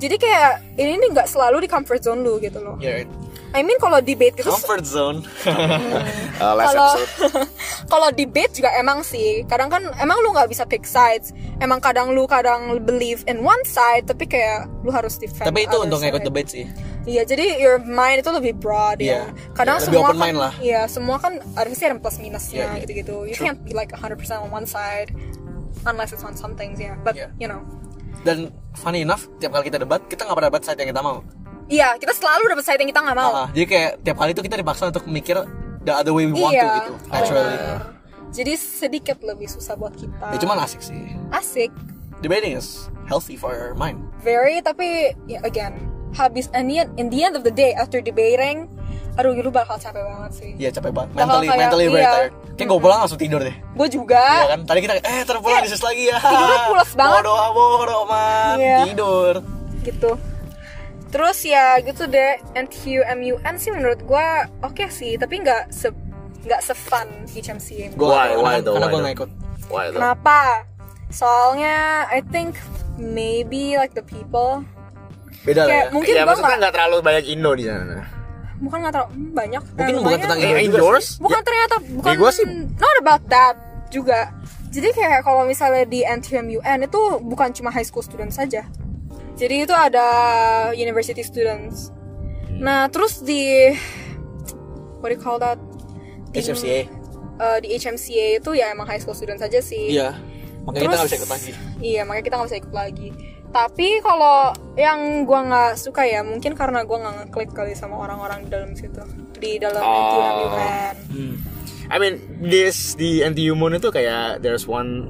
Jadi kayak ini nih nggak selalu di comfort zone lu gitu loh. Iya. I mean kalau debate gitu Comfort zone. Uh, last kalau episode. kalau debate juga emang sih kadang kan emang lu nggak bisa pick sides emang kadang lu kadang believe in one side tapi kayak lu harus defend Tapi itu other untuk ngikut side. debate sih. iya jadi your mind itu lebih broad Iya. ya kadang Lebih semua open kan mind lah. iya semua kan ada sih ada plus minusnya Iya, iya. gitu gitu you True. can't be like 100% on one side unless it's on some things yeah but Iya. you know Dan funny enough, tiap kali kita debat, kita nggak pernah debat saat yang kita mau. iya kita selalu dapet side yang kita nggak mau Ah, jadi kayak tiap kali itu kita dipaksa untuk mikir the other way we want to iya gitu. Naturally. benar. jadi sedikit lebih susah buat Ya kita cuman asik sih. asik Debating is healthy for your mind. very tapi ya, again habis and yet, in the end of the day after debating aduh lu bakal capek banget sih Iya capek banget. Bakal Mentally, kayak- mentally very iya. tired. Kayak gue pulang langsung tidur deh. gue Iya juga kan? Tadi kita eh terus pulang disus lagi ya. Iya. tidurnya pulas banget. Bodoh, bodoh man. Iya. Tidur. gitu terus ya gitu deh NTUMUN sih menurut gue oke sih tapi nggak se nggak se-fun HMCA Gue Why, why though, karena why gue though? nggak ikut. Why though? kenapa soalnya I think maybe like the people Beda lah ya. kayak mungkin ya, gue maksudnya nggak nggak terlalu banyak Indo di sana. bukan nggak terlalu hmm, banyak Mungkin Terlalu bukan banyak. tentang Eh, Indo in juga yours? sih. bukan ternyata bukan gua sih- not about that juga jadi kayak kalau misalnya di NTMUN itu bukan cuma high school students saja jadi itu ada university students Hmm. nah terus di what do you call that HMCA. Eh, di HMCA itu ya emang high school students saja sih Iya. makanya kita Terus- nggak bisa ikut lagi Iya, makanya kita nggak bisa ikut lagi. Tapi kalau yang gua nggak suka ya, mungkin karena gua nggak ngeklik kali sama orang-orang di dalam situ, di dalam Ah. Oh. NTUMUN. I mean, this the NTU Moon itu kayak there's one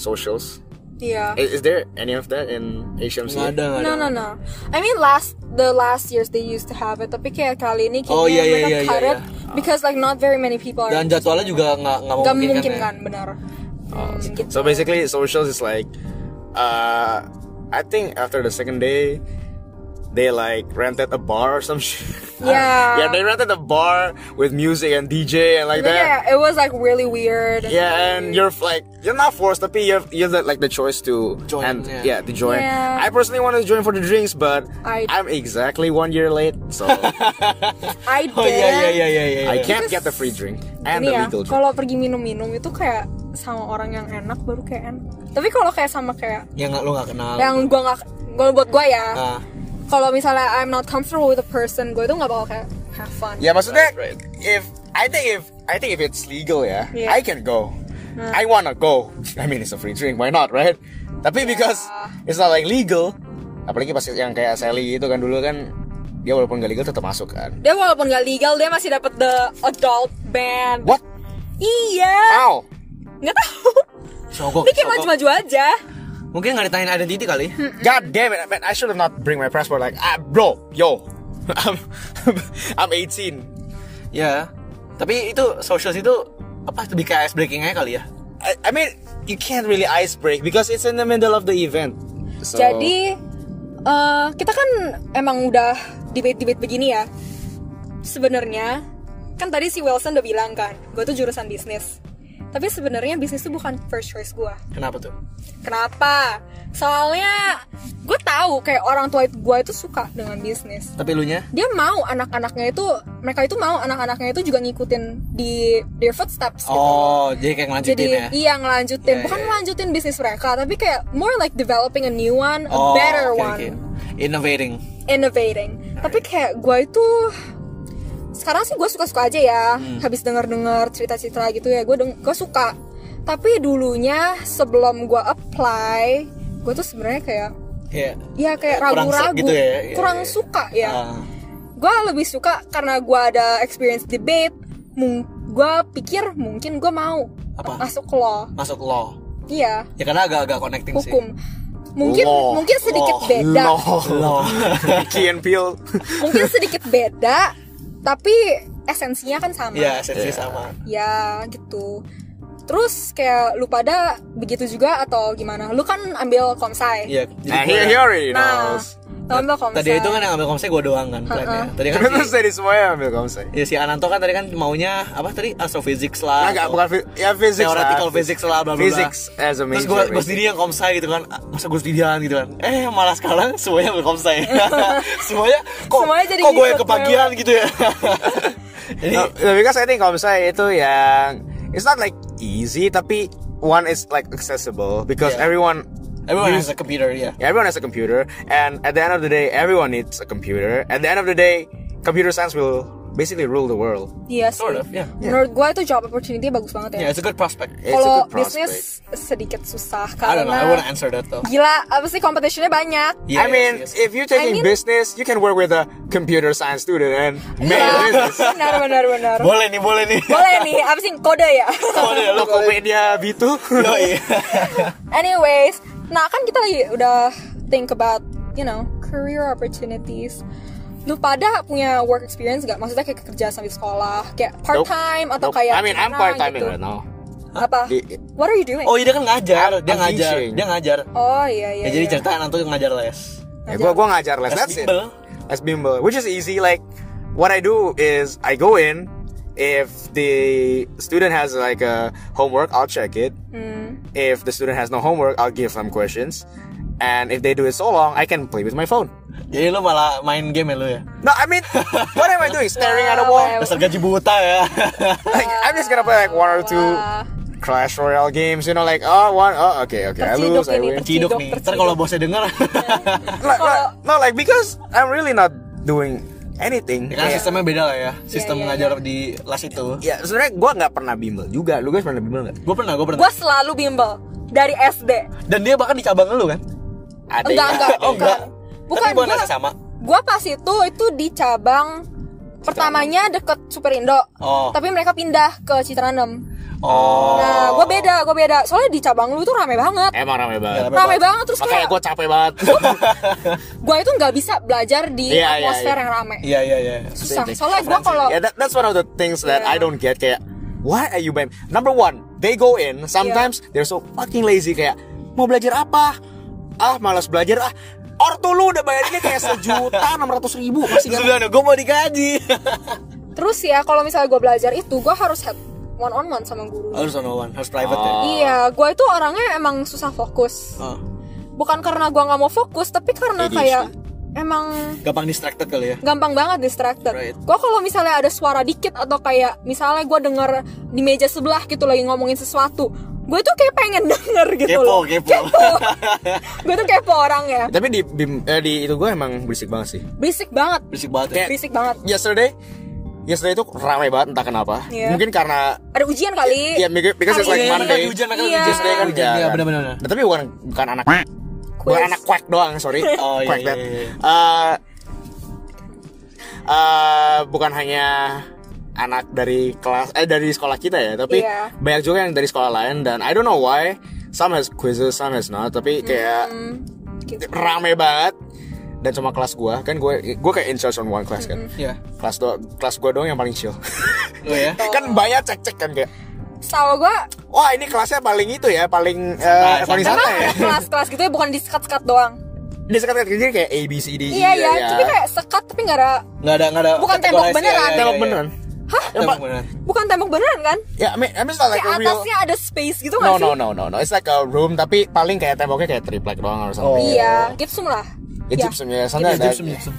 socials. Iya. Is, is there any of that in HMC? nggak ada nggak ada No no no. I mean last the last years they used to have it, tapi kayak kali ini kayaknya Oh, iya, iya, mereka iya, cut iya, it because like not very many people are dan jadwalnya juga nggak nggak gak memungkinkan ya. Oh, memungkinkan benar. Hmm, gitu. So basically, socials is like, uh, I think after the second day, they like rented a bar or some shit. Yeah. yeah, they rented a bar with music and DJ and like But that. yeah, it was like really weird. Yeah, and you're like you're not forced to pee. You have, you have like the choice to Join, and yeah. yeah. to join. Yeah. I personally wanted to join for the drinks, but I- I'm exactly one year late, so I did. oh iya iya iya iya iya I iya. can't get the free drink and Ini the ya, legal drink. kalau pergi minum-minum itu kayak sama orang yang enak baru kayak enak. Tapi kalau kayak sama kayak yang Ya nggak lo nggak kenal yang gua nggak, gua buat gua ya. Nah, Kalau misalnya I'm not comfortable with a person, gua itu nggak bakal kayak have fun. Yeah, maksudnya Right, right. if I think if I think if it's legal ya, Yeah. I can go. I wanna go. I mean it's a free drink, why not, right? Tapi because it's not like legal, apalagi pas yang kayak Sally itu kan dulu kan dia walaupun gak legal tetap masuk kan. Dia walaupun nggak legal, dia masih dapat the adult ban. What? Iya. Ow! Nggak tahu. sogok, Dia kayak sogok. maju-maju aja. mungkin nggak ditanyain identity kali Hmm. God damn it, man! I should have not bring my passport. Like, ah, bro, yo, I'm, I'm 18. ya tapi itu socials itu apa lebih kayak ice breaking aja kali ya I, I mean, you can't really ice break because it's in the middle of the event. So, Jadi eh, kita kan emang udah debate-debate begini ya. Sebenarnya kan tadi si Wilson udah bilang kan, gue tuh jurusan bisnis. Tapi sebenarnya bisnis tuh bukan first choice gue. kenapa tuh Kenapa? Soalnya gue tahu kayak orang tua gue itu suka dengan bisnis. tapi lu nya dia mau anak-anaknya itu mereka itu mau anak-anaknya itu juga ngikutin di their footsteps gitu. oh jadi kayak ngelanjutin ya Jadi iya ngelanjutin, Iya, bukan iya. ngelanjutin bisnis mereka, tapi kayak more like developing a new one, a oh better oke, one, oke. innovating innovating. Tapi kayak gue itu sekarang sih gue suka-suka aja ya, Hmm. habis denger-denger cerita-cerita gitu ya, gue gue suka. Tapi dulunya sebelum gue apply, gue tuh sebenarnya kayak ya ya kayak Kurang ragu-ragu, gitu ya, iya, kurang iya. suka ya Ah. gue lebih suka karena gue ada experience debate gue pikir mungkin gue mau Apa? masuk law masuk law iya ya karena agak-agak connecting sih hukum mungkin Law. mungkin sedikit Law. beda law Key and Peele. mungkin sedikit beda tapi esensinya kan sama ya sensi Iya. sama ya gitu terus kayak lu pada begitu juga atau gimana lu kan ambil komsai ya Nah, gua- he, he already nah knows. lu ambil komsai tadi itu kan yang ambil komsai gue doang kan plannya tadi kan Terus si, dari semuanya ambil kamu say. ya si Ananto kan tadi kan maunya apa tadi astrophysics Nah, lah enggak, atau- bukan fi- ya physics Ah. theoretical lah. physics lah bla bla bla. Physics as a terus major, gue gue major. sendiri yang komsai gitu kan Ah, masa gue sendirian gitu kan eh malah sekarang semuanya berkomsai semuanya kok Semuanya jadi kok gue yang ngikut kebagian gitu ya jadi No, no, because I think Komsai itu yang it's not like easy tapi one is like accessible because Yeah. everyone everyone has a computer ya yeah, everyone has a computer and at the end of the day everyone needs a computer. At the end of the day computer science will basically rule the world. iya sih sort of ya menurut gue itu job opportunity bagus banget ya ya it's a good prospect It's a good kalau prospect. bisnis sedikit susah I don't know I karena wanna answer that though gila apa sih competitionnya banyak Yes, I mean, yes. if you're taking I mean- business, you can work with a computer science student and make a business. Iya. benar benar benar boleh nih boleh nih boleh nih apa sih kode ya boleh lo komen Tokopedia B2. Yo, iya. anyways nah kan kita lagi udah think about you know career opportunities lu pada punya work experience gak maksudnya kayak kerja sambil sekolah kayak part time atau Nope. I kayak mean, I'm gimana part time gitu. right now. apa Di- what are you doing oh iya dia kan ngajar dia I'm ngajar teaching. dia ngajar Oh, iya iya ya jadi iya. cerita Ananto ngajar les Eh, gua gua ngajar les. Les That's it. bimbel. Les bimbel, which is easy. Like what I do is I go in. If the student has like a homework, I'll check it. Hmm. If the student has no homework, I'll give them questions. And if they do it so long, I can play with my phone. jadi lo malah main game ya lo ya No, I mean, what am I doing? Staring at a Wow, wall? wow. dasar gaji buta ya Like, I'm just gonna play like one or Wah. two Clash Royale games. You know, like oh one, oh okay, okay, I Terciduk lose, I ini, win. ciduk nih ntar kalau bosnya denger Iya. Like, like- no, like because I'm really not doing anything. Ya kan Kayak- sistemnya beda lah ya sistem iya, ngajar di les itu ya sebenarnya gue nggak pernah bimbel juga lu guys pernah bimbel nggak gue pernah gue pernah gue selalu bimbel dari SD. Dan dia bahkan di cabang lu kan? Ada Enggak, ya? enggak. Oh, enggak. Bukan, Tapi bukan gua- rasa sama. Gua pas itu itu di cabang pertamanya deket Superindo. Oh. Tapi mereka pindah ke Citranam. Oh. Nah, gua beda, gua beda. Soalnya di cabang lu tuh rame banget. Emang rame banget. Rame Rame banget. banget terus Makanya kayak gue capek banget. gua itu nggak bisa belajar di Iya, iya, atmosfer iya. yang rame. Iya iya iya. Susah. Soalnya gua kalau yeah, Iya. Ya, that, that's one of the things that Yeah. I don't get. Kayak, why are you BEM? Number one, they go in. Sometimes Iya. they're so fucking lazy. Kayak, mau belajar apa? Ah, malas belajar ah. Ortu lu udah bayarinnya kayak sejuta enam ratus ribu masih nggak- Sudah, gue mau dikaji. Terus ya kalau misalnya gue belajar itu gue harus head one on one sama guru. harus one on one, harus private ya. Iya, gue itu orangnya emang susah fokus. Oh. Bukan karena gue nggak mau fokus, tapi karena ADHD. kayak emang Gampang distracted kali ya. gampang banget distracted. Right. Gue kalau misalnya ada suara dikit atau kayak misalnya gue denger di meja sebelah gitu lagi ngomongin sesuatu, gue tuh kayak pengen denger gitu Kepo, loh. kepo. gue tuh kepo orangnya. Tapi di BIM- eh, di itu gue emang berisik banget sih. Berisik banget, Berisik banget. Ya. Kayak- berisik banget. Yesterday, yesterday itu ramai banget entah kenapa. Iya. Mungkin karena Ada ujian kali. Iya, because- because it's like Hari ini. Iya, mereka Monday. lagi hujan, mereka lagi Iya. hujan, mereka lagi kan hujan. Iya, kan? benar-benar. Nah, tapi bukan bukan anak bukan Quiz. anak quack doang, sorry. Oh, iya, quack iya, that. iya. Eh, eh, bukan hanya anak dari kelas eh dari sekolah kita ya, tapi Iya. banyak juga yang dari sekolah lain dan I don't know why some has quizzes, some has not, tapi kayak Hmm, gitu. Hmm. rame banget dan cuma kelas gua kan gue gue kayak in charge on one class kan Iya. kelas do kelas gua doang yang paling chill Oh ya. kan banyak cek cek kan kayak Sama gue wah ini kelasnya paling itu ya paling eh, Santai, paling santai. santai ya emang kelas-kelas gitu ya bukan di sekat-sekat doang. dia sekat kecil kayak A B C D E Iya ya, ya, ya. tapi kayak sekat tapi nggak ada Enggak ada enggak ada. Bukan tembok kategorisi, beneran. iya, iya, tembok iya. beneran Hah? Tembok beneran. Bukan tembok beneran kan? ya I mean, I mean it's not like Kayak a real atasnya ada space gitu nggak no sih? no no no no it's like a room tapi paling kayak temboknya kayak triplek doang or something Iya, gypsum lah. ya gypsum ya sana Iya, ada gypsum, gypsum.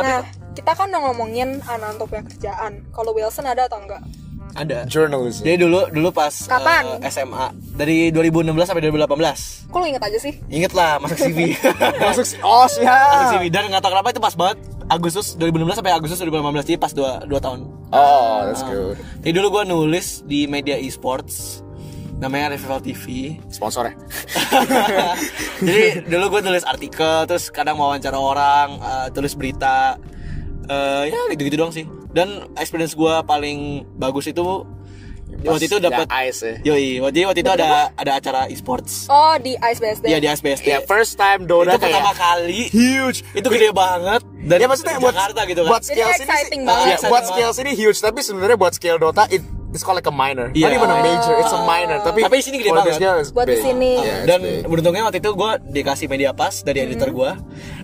Nah, kita kan udah ngomongin anak untuk punya kerjaan. Kalau Wilson ada atau enggak? Ada. journalism Jadi dulu dulu pas Kapan? eh, SMA dari 2016 sampai 2018. Kok lu inget aja sih? Ingat lah masuk CV. masuk si oh Masuk siap CV dan nggak tahu kenapa itu pas banget Agustus 2016 sampai Agustus 2018 jadi pas 2 2 tahun. Ah. oh that's good Jadi dulu gue nulis di media esports namanya Revival TV. sponsor ya Jadi dulu gue tulis artikel, terus kadang wawancara orang, eh, tulis berita, Eh, ya gitu-gitu doang sih. Dan experience gue paling bagus itu Iya, waktu itu dapat Yang ice ya Yoi, waktu waktu itu ada ada acara esports. Oh, di Ice BSD. Iya di ASBSD. ya first time itu Dota kayak pertama kali. huge Itu gede banget. Dan ya maksudnya buat Jakarta gitu kan. buat Jadi scale sini sih, exciting banget. ya, buat Exciting scale sini huge tapi sebenarnya buat scale Dota it, it's called like a minor Iya. not even a major it's a minor tapi Tapi di sini gede for the banget. scale, it's Buat di big. sini. Yeah, it's dan big. beruntungnya waktu itu gue dikasih media pass dari editor gue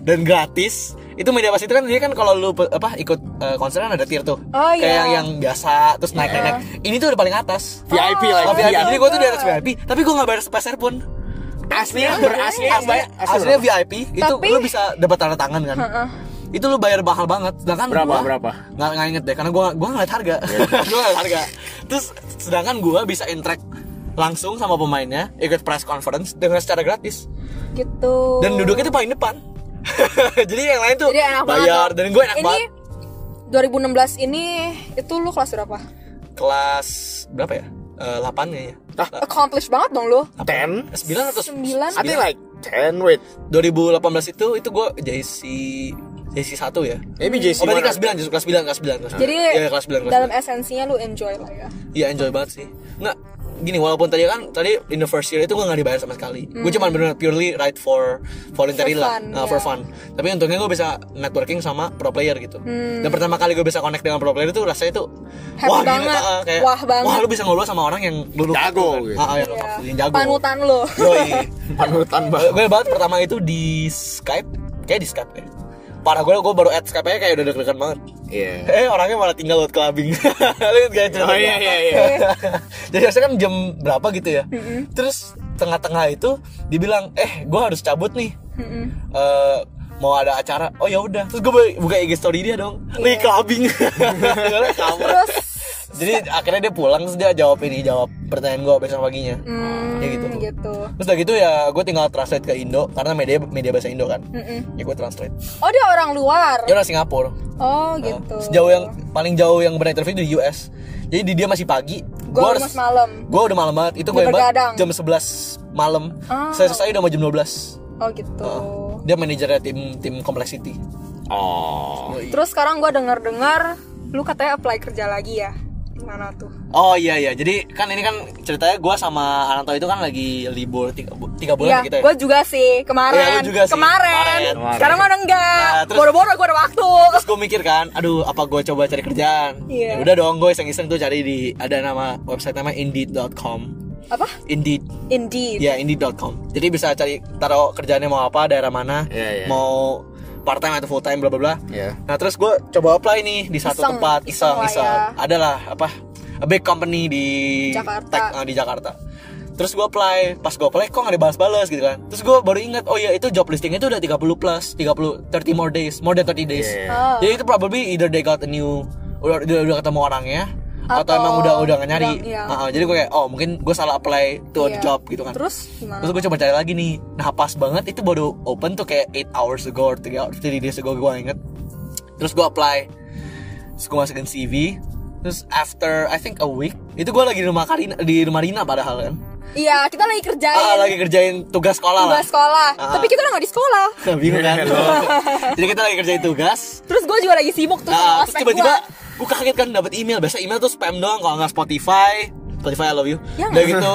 dan gratis itu media pass itu kan dia kan kalau lu pe- apa ikut eh, konser kan ada tier tuh Oh, kayak iya. yang, yang biasa terus naik naik naik ini tuh udah paling atas VIP Iya. lah Tapi VIP jadi gue tuh di atas VIP tapi gue nggak bayar sepeser pun aslinya berasli aslinya, aslinya VIP itu Tapi- lu bisa dapat tanda tangan kan itu lu bayar mahal banget sedangkan Berapa, gua, berapa? Iya. nggak nggak inget deh karena gua gua ngeliat harga gua ngeliat harga terus sedangkan gua bisa interact langsung sama pemainnya ikut press conference dengan secara gratis Gitu. dan duduknya tuh paling depan jadi yang lain tuh Jadi enak banget. bayar loh. dan gue enak ini, banget 2016 ini itu lu kelas berapa? kelas berapa ya Eh, 8 kayaknya Ah. Accomplished banget dong lu. 10 9 atau Sembilan. I think like 10 wait 2018 itu itu gue JC JC 1 ya maybe JC Oh, berarti kelas one. 9, justru kelas 9, kelas 9, kelas 9. Jadi Iya, kelas 9, kelas dalam 9. esensinya lu enjoy lah ya. Iya, enjoy banget sih. Nah, gini, walaupun tadi kan tadi in the first year itu gue nggak dibayar sama sekali. Gue cuma benar purely right for voluntary Hmm. For lah, fun, nah, for ya. fun. Tapi untungnya gue bisa networking sama pro player gitu. Dan pertama kali gue bisa connect dengan pro player itu rasanya tuh Hmm. Happy wah, gila, banget. ah, kayak, Wah banget. Wah, lu bisa ngobrol sama orang yang dulu Jago gitu. Ah, ah, yang, Iya. lu- yang jago. Panutan lu. Yoi. panutan Eh, banget gue banget pertama itu di Skype kayak di Skype ya parah gue gue baru add Skype nya kayak udah deg-degan banget iya eh orangnya malah tinggal buat clubbing Lu ingat gak cerita oh iya gue? iya iya jadi harusnya kan jam berapa gitu ya terus tengah-tengah itu dibilang eh gue harus cabut nih Eh, mau ada acara oh ya udah terus gue buka IG story dia dong nih clubbing Karena kabur. Terus jadi akhirnya dia pulang terus dia jawab ini jawab pertanyaan gue besok paginya hmm, ya gitu gitu. Terus udah gitu ya gue tinggal translate ke Indo karena media media bahasa Indo kan. Ya gue translate. Oh, dia orang luar. Dia orang Singapura. Nah, Oh, gitu. Sejauh yang paling jauh yang pernah interview di US. Jadi di dia masih pagi, Gue harus malam. Gue udah malam banget. Itu gue Udah banget begadang. jam 11 malam. Ah. Saya selesai udah mau jam 12. Oh gitu. Dia manajernya tim tim Complexity. Oh. Terus sekarang gue dengar-dengar lu katanya apply kerja lagi ya. Gimana tuh? Oh iya iya. Jadi kan ini kan ceritanya gue sama Ananto itu kan lagi libur tiga, bu- tiga bulan Iya, gitu ya. gue juga sih Iya, kemarin. lu juga sih. Kemarin. Kemarin. Sekarang mah udah enggak. Nah, terus- Boro-boro gue ada waktu. Terus gue mikir kan, aduh apa gue coba cari kerjaan? Ya Iya. udah dong, gue iseng-iseng tuh cari di ada nama website nama indeed.com. Apa? Indeed. Indeed. Ya indeed.com. Jadi bisa cari taruh kerjaannya mau apa, daerah mana, Iya, iya. mau part time atau full time bla bla bla. Iya. Nah, terus gue coba apply nih di satu Iseng, tempat iseng iseng lah iseng. ya. Adalah apa? A big company di Jakarta. tech, eh, di Jakarta. Terus gue apply, pas gue apply kok gak dibalas-balas gitu kan Terus gue baru ingat, oh iya itu job listingnya itu udah 30 plus 30, 30 more days, more than 30 days Yeah. Oh. jadi itu probably either they got a new udah udah, udah ketemu orangnya atau, Atau emang udah udah nggak nyari. udah- iya. Ah, ah, jadi gue kayak oh mungkin gue salah apply to a Iya. job gitu kan. Terus gimana? Terus gue coba cari lagi nih. Nah pas banget itu baru open tuh kayak 8 hours ago or 3 hours, 3 days ago gue nggak inget. Terus gue apply. Terus gue masukin CV. Terus after I think a week itu gue lagi di rumah Karina di rumah Rina padahal kan. Iya, kita lagi kerjain. Ah, lagi kerjain tugas sekolah tugas lah. sekolah. Ah. Tapi kita udah gak di sekolah. Bingung kan? Jadi kita lagi kerjain tugas. Terus gue juga lagi sibuk tuh sama Nah, terus ospek tiba-tiba gua. gue kaget kan dapat email. Biasa email tuh spam doang kalau nggak Spotify. Spotify I love you. Ya Udah gitu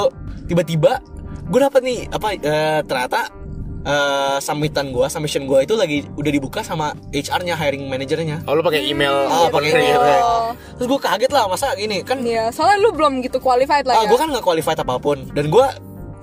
tiba-tiba gue dapat nih apa eh, ternyata eh, submitan gue, submission gue itu lagi udah dibuka sama HR-nya, hiring manajernya. Oh, lu pakai email. Ah, pakai email. email. Oh. Terus gue kaget lah masa gini kan Iya, soalnya lu belum gitu qualified ah, lah ya. gue kan nggak qualified apapun dan gue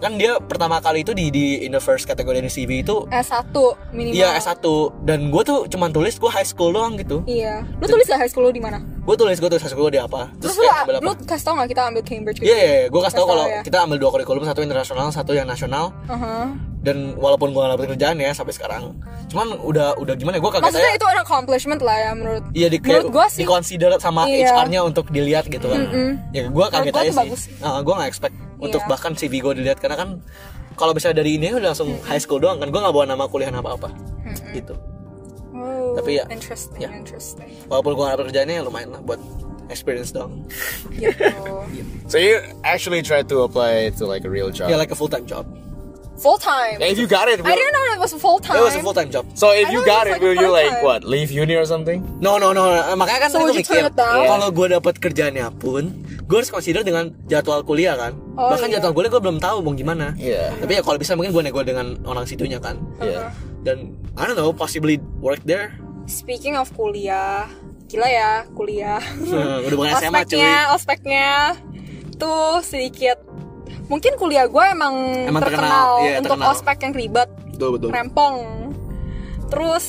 kan dia pertama kali itu di di in the first kategori di CV itu S1 Eh, minimal. Iya S1 dan gue tuh cuman tulis gue high school doang gitu Iya. Lu tulis gak high school lu di mana? Gue tulis gue tulis high school gue di apa Terus, kayak ambil apa. lu, lu kasih tau gak kita ambil Cambridge gitu? Iya, iya, iya. gue kasih tau Kasih kalau tau ya. kita ambil dua kurikulum, satu internasional, satu yang nasional. Aha. Dan walaupun gue gak dapet kerjaan ya sampai sekarang, cuman udah udah gimana? ya, Gue kaget Maksudnya aja. itu an accomplishment lah ya menurut Iya di, menurut gue di sih. consider sama Iya. HR-nya untuk dilihat gitu kan. Ya gue kaget Menurut gua aja tuh sih. bagus. gue gak expect untuk Iya. bahkan CV gue dilihat karena kan kalau bisa dari ini udah langsung high school doang kan gue gak bawa nama kuliah apa apa gitu. Oh, Tapi ya, interesting, ya. interesting. Walaupun gue gak dapet kerjaannya ya lumayan lah buat experience doang. Gitu. So you actually tried to apply to like a real job. Ya like a full time job. full time. And if you got it, I will- didn't know it was full Iya. time. It was a full time job. so if I you got thought it, it was like will you like what? part-time. Leave uni or something? No no no, no. makanya kan So, tadi would gue you mikir turn it down? kalau gue dapat kerjaannya pun, gue harus consider dengan jadwal kuliah kan. Oh, Bahkan iya. jadwal kuliah gue belum tahu mau gimana. Iya. Tapi ya kalau bisa mungkin gue nego dengan orang situnya kan. Uh-huh. Yeah. Dan I don't know, possibly work there. Speaking of kuliah, gila ya kuliah. Hmm. Nah, udah bukan SMA cuy. ospeknya, ospeknya tuh sedikit. Mungkin kuliah gue emang, Emang terkenal, terkenal, iya, untuk terkenal. ospek yang ribet, Betul betul. rempong. Terus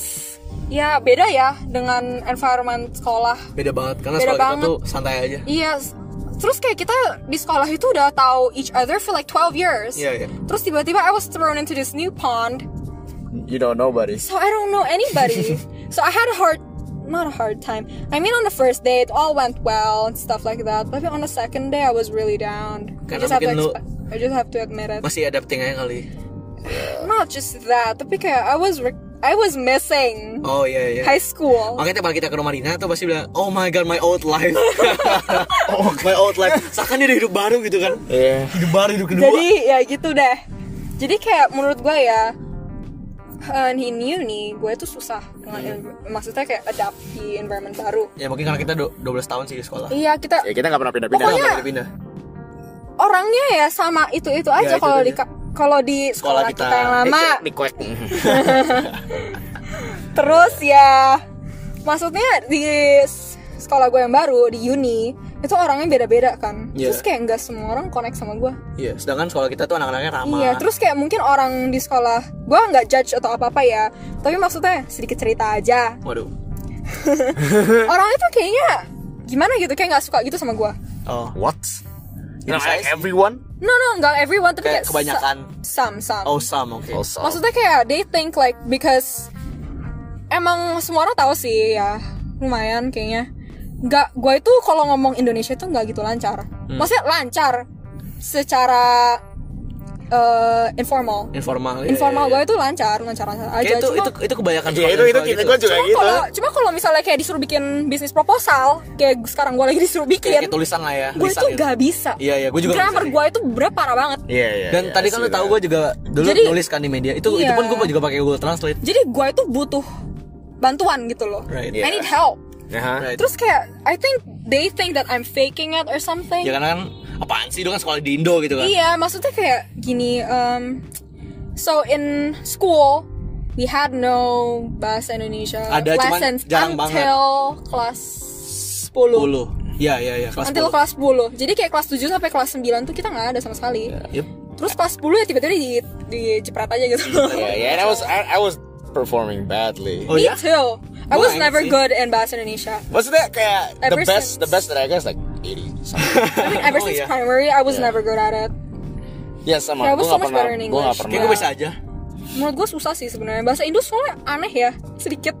ya beda ya dengan environment sekolah. Beda banget karena Beda sekolah kita banget. tuh santai aja. Iya. s- Terus kayak kita di sekolah itu udah tahu each other for like 12 years. Iya, iya. Terus tiba-tiba I was thrown into this new pond. You don't know, buddy. So I don't know anybody. so I had a hard, not a hard time. I mean, on the first day it all went well and stuff like that. But on the second day I was really down. I Karena just have to, mungkin lu- expe- I just have to admit it. Masih adapting aja kali. Not just that, tapi kayak I was, re- I was missing Oh iya iya. high school. Makanya tiap kali kita ke rumah Rina tuh pasti bilang, Oh my god, my old life. Oh, my old life. Seakan dia udah hidup baru gitu kan. Yeah. Hidup baru, hidup kedua. Jadi ya gitu deh. Jadi kayak menurut gue ya uh, di uni gue tuh susah dengan maksudnya kayak adapt di environment baru. ya mungkin karena kita do- 12 tahun sih di sekolah. Iya kita Ya kita nggak pernah pindah-pindah. Pokoknya- Kita pindah. orangnya ya sama itu itu aja itu kalau di aja. ka- kalau di Sekolah sekolah, kita. kita. Eh, yang lama Di kuek. terus ya maksudnya di s- sekolah gue yang baru di uni itu orangnya beda-beda kan Iya. terus kayak nggak semua orang connect sama gue Iya, sedangkan sekolah kita tuh anak-anaknya ramah. iya terus kayak mungkin orang di sekolah gue nggak judge atau apa apa ya tapi maksudnya sedikit cerita aja Waduh. Eh. orangnya tuh kayaknya gimana gitu kayak nggak suka gitu sama gue Oh, What? Ya, Not like saya- everyone? no no nggak everyone tapi Kayak kayak, kebanyakan. sam sam oh Sam, oke. Also. Maksudnya kayak they think like because emang semua orang tahu sih ya lumayan kayaknya. Nggak, gue itu kalau Hmm. ngomong Indonesia tuh nggak gitu lancar. Maksudnya lancar secara eh, informal. informal. Iya, Informal iya, gue iya. itu lancar, lancar-lancar aja. Kayak itu, cuma, itu itu kebanyakan Iya itu sekolah itu yang kita gitu. gua juga cuma gitu. kalau cuma kalau misalnya kayak disuruh bikin bisnis proposal, kayak sekarang gue lagi disuruh Kayak, bikin, kayak tulisan lah ya. gue lisan Iya. itu gitu. gak bisa. Iya, iya, gue juga nggak Grammar bisa. gue itu bener parah banget. Iya iya. Dan tadi kan lu tahu gue juga dulu Jadi- nulis kan di media. Itu itu Iya. pun gue juga pakai Google Translate. Jadi gue itu butuh bantuan gitu loh. Right. Yeah. I need help. Right. Terus kayak I think they think that I'm faking it or something. Ya karena kan apaan sih lu kan sekolah di Indo gitu kan. Iya, maksudnya kayak gini. Um, so in school we had no bahasa Indonesia Ada, cuman lessons jarang until kelas 10. 10. Iya iya iya kelas Until 10. kelas 10. Jadi kayak kelas 7 sampai kelas 9 tuh kita nggak ada sama sekali. Ya, yep. Terus kelas 10 ya tiba-tiba di dijepret aja gitu loh. Iya, Yeah, yeah. And I was I, I was performing badly. Oh Me ya? too. I Gua was nggak inget never sih. good in bahasa Indonesia. Wasn't that kayak the Ever best the since. best that I got is like 80 something. I mean, ever Oh, since iya. primary, I was never good at it. Ya sama. Yeah, I Gua was so nggak much pernah. better in Gue nggak English. pernah. Kayak gue bisa aja. Menurut gue susah sih sebenarnya. Bahasa Indo soalnya aneh ya, sedikit.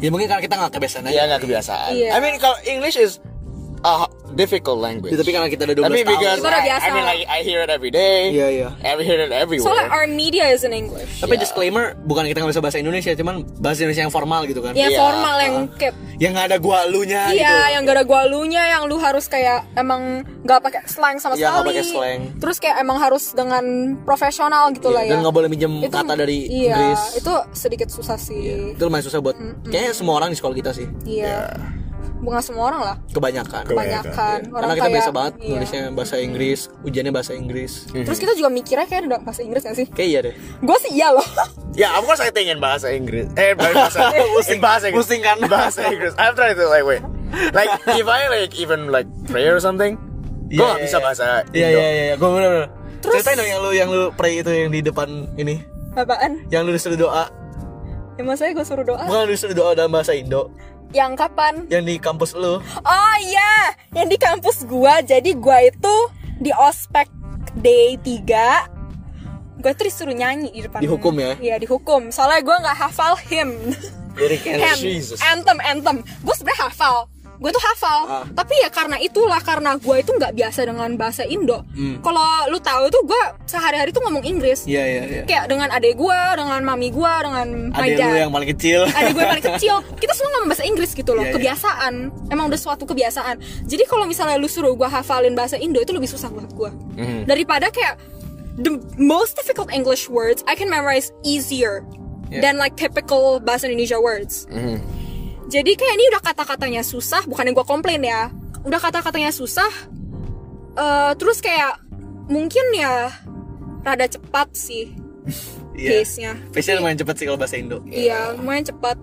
Ya mungkin karena kita nggak kebiasaan aja. Iya nggak kebiasaan. Iya. I mean kalau English is a h- difficult language. Ya, tapi karena kita udah 12 Tapi tahun. because Kita udah I, biasa. I mean like I hear it every day. Iya, iya. I hear it everywhere. Soalnya our media is in English. Tapi disclaimer, bukan kita nggak bisa bahasa Indonesia, cuman bahasa Indonesia yang formal gitu kan. Ya Iya. formal yang kayak Yang nggak ada gua gitu. lunya Iya, yang gak ada gua lunya yang lu harus kayak emang gak pakai slang sama Iya, sekali. nggak pakai slang. Terus kayak emang harus dengan profesional gitu. gitu lah ya. Dan nggak boleh minjem Itu- kata dari iya, Inggris. Iya. Itu sedikit susah sih. Itu lumayan susah buat kayaknya semua orang di sekolah kita sih Iya. Bukan semua orang lah, kebanyakan. kebanyakan. Orang Iya, Karena kita kayak- biasa banget iya. nulisnya bahasa Inggris, ujiannya bahasa Inggris. Terus kita juga mikirnya kayak udah bahasa Inggris gak sih? Kayak iya deh. Gue sih iya loh. Yeah, of course I think in bahasa Inggris. Eh, bahasa, in bahasa Inggris. Pusing kan? Bahasa Inggris. I'm trying to like wait. Like if I like even like pray or something, gue nggak bisa bahasa Iya Indo. iya iya, gue bener bener. Terus- Ceritain dong yang lu yang lu pray itu yang di depan ini, Apaan? yang lu disuruh doa, Ya maksudnya gue suruh doa. bukan lu disuruh doa dalam bahasa Indo, Yang kapan? yang di kampus lu. Oh iya, yang di kampus gua. Jadi gua itu di ospek D3 Gua tuh disuruh nyanyi di depan Dihukum ya? Iya dihukum Soalnya gua nggak hafal him Liriknya. Hem, Jesus. anthem, anthem Gue sebenernya hafal Gue tuh hafal Ah. Tapi ya karena itulah Karena gua itu nggak biasa dengan bahasa Indo Kalau lu tahu tuh gua sehari-hari tuh ngomong Inggris Hmm. Iya iya iya. Kayak dengan adek gua, dengan mami gua, dengan my Ada dad lu yang paling kecil. ada gue paling kecil kita semua ngomong bahasa Inggris gitu loh Iya, iya. kebiasaan emang udah suatu kebiasaan jadi kalau misalnya lu suruh gue hafalin bahasa Indo itu lebih susah buat gue Mhm. daripada kayak the most difficult English words I can memorize easier Yeah. than like typical bahasa Indonesia words Mhm. jadi kayak ini udah kata-katanya susah bukan yang gue komplain ya udah kata-katanya susah eh, terus kayak mungkin ya rada cepat sih Iya. pace-nya Pace-nya lumayan cepet sih kalau bahasa Indo. Iya, lumayan cepat.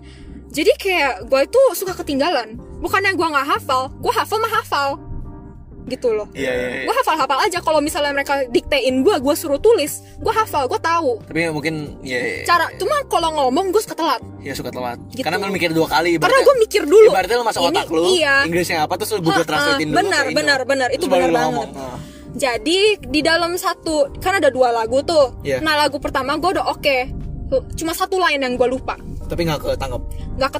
Jadi kayak gue itu suka ketinggalan. Bukannya gue nggak hafal, gue hafal mah hafal. Gitu loh. Iya iya. iya. Gue hafal-hafal aja kalau misalnya mereka diktein gue, gue suruh tulis, gue hafal, gue tahu. Tapi ya mungkin ya, ya, ya, Cara cuma kalau ngomong gue suka telat. ya suka telat. Gitu. Karena lu mikir dua kali. Karena ibaratnya- Ya, gue mikir dulu. Ibaratnya lu masuk Ini- otak lu. Iya. Inggrisnya apa terus lu Google Ah, ah, translatein dulu. benar, ke Indo. benar, benar. Terus Itu baru benar lu banget. ngomong. Ah. Jadi di dalam satu kan ada dua lagu tuh. Iya. Nah lagu pertama gue udah oke, cuma satu line yang gue lupa. Tapi nggak ketangkep. Nggak ke,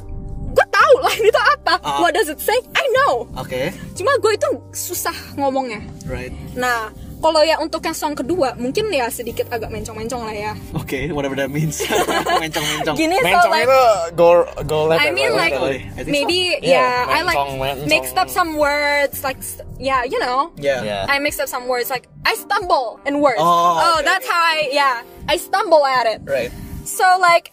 gue tahu line itu apa. Ah. What does it say? I know. Oke. Cuma gue itu susah ngomongnya. Right. Nah, kalau ya untuk yang song kedua, mungkin ya sedikit agak mencong-mencong lah ya. Oke, whatever that means. Mencong-mencong. Oh, Gini so Mencong like, itu go go left. and I mean right, like left and right. I think so. maybe Yeah, yeah, I like mencong, mencong. mixed up some words like s- yeah, you know. Yeah. Yeah. I mixed up some words like I stumble in words. Oh, okay, that's how I yeah, I stumble at it. Right. So like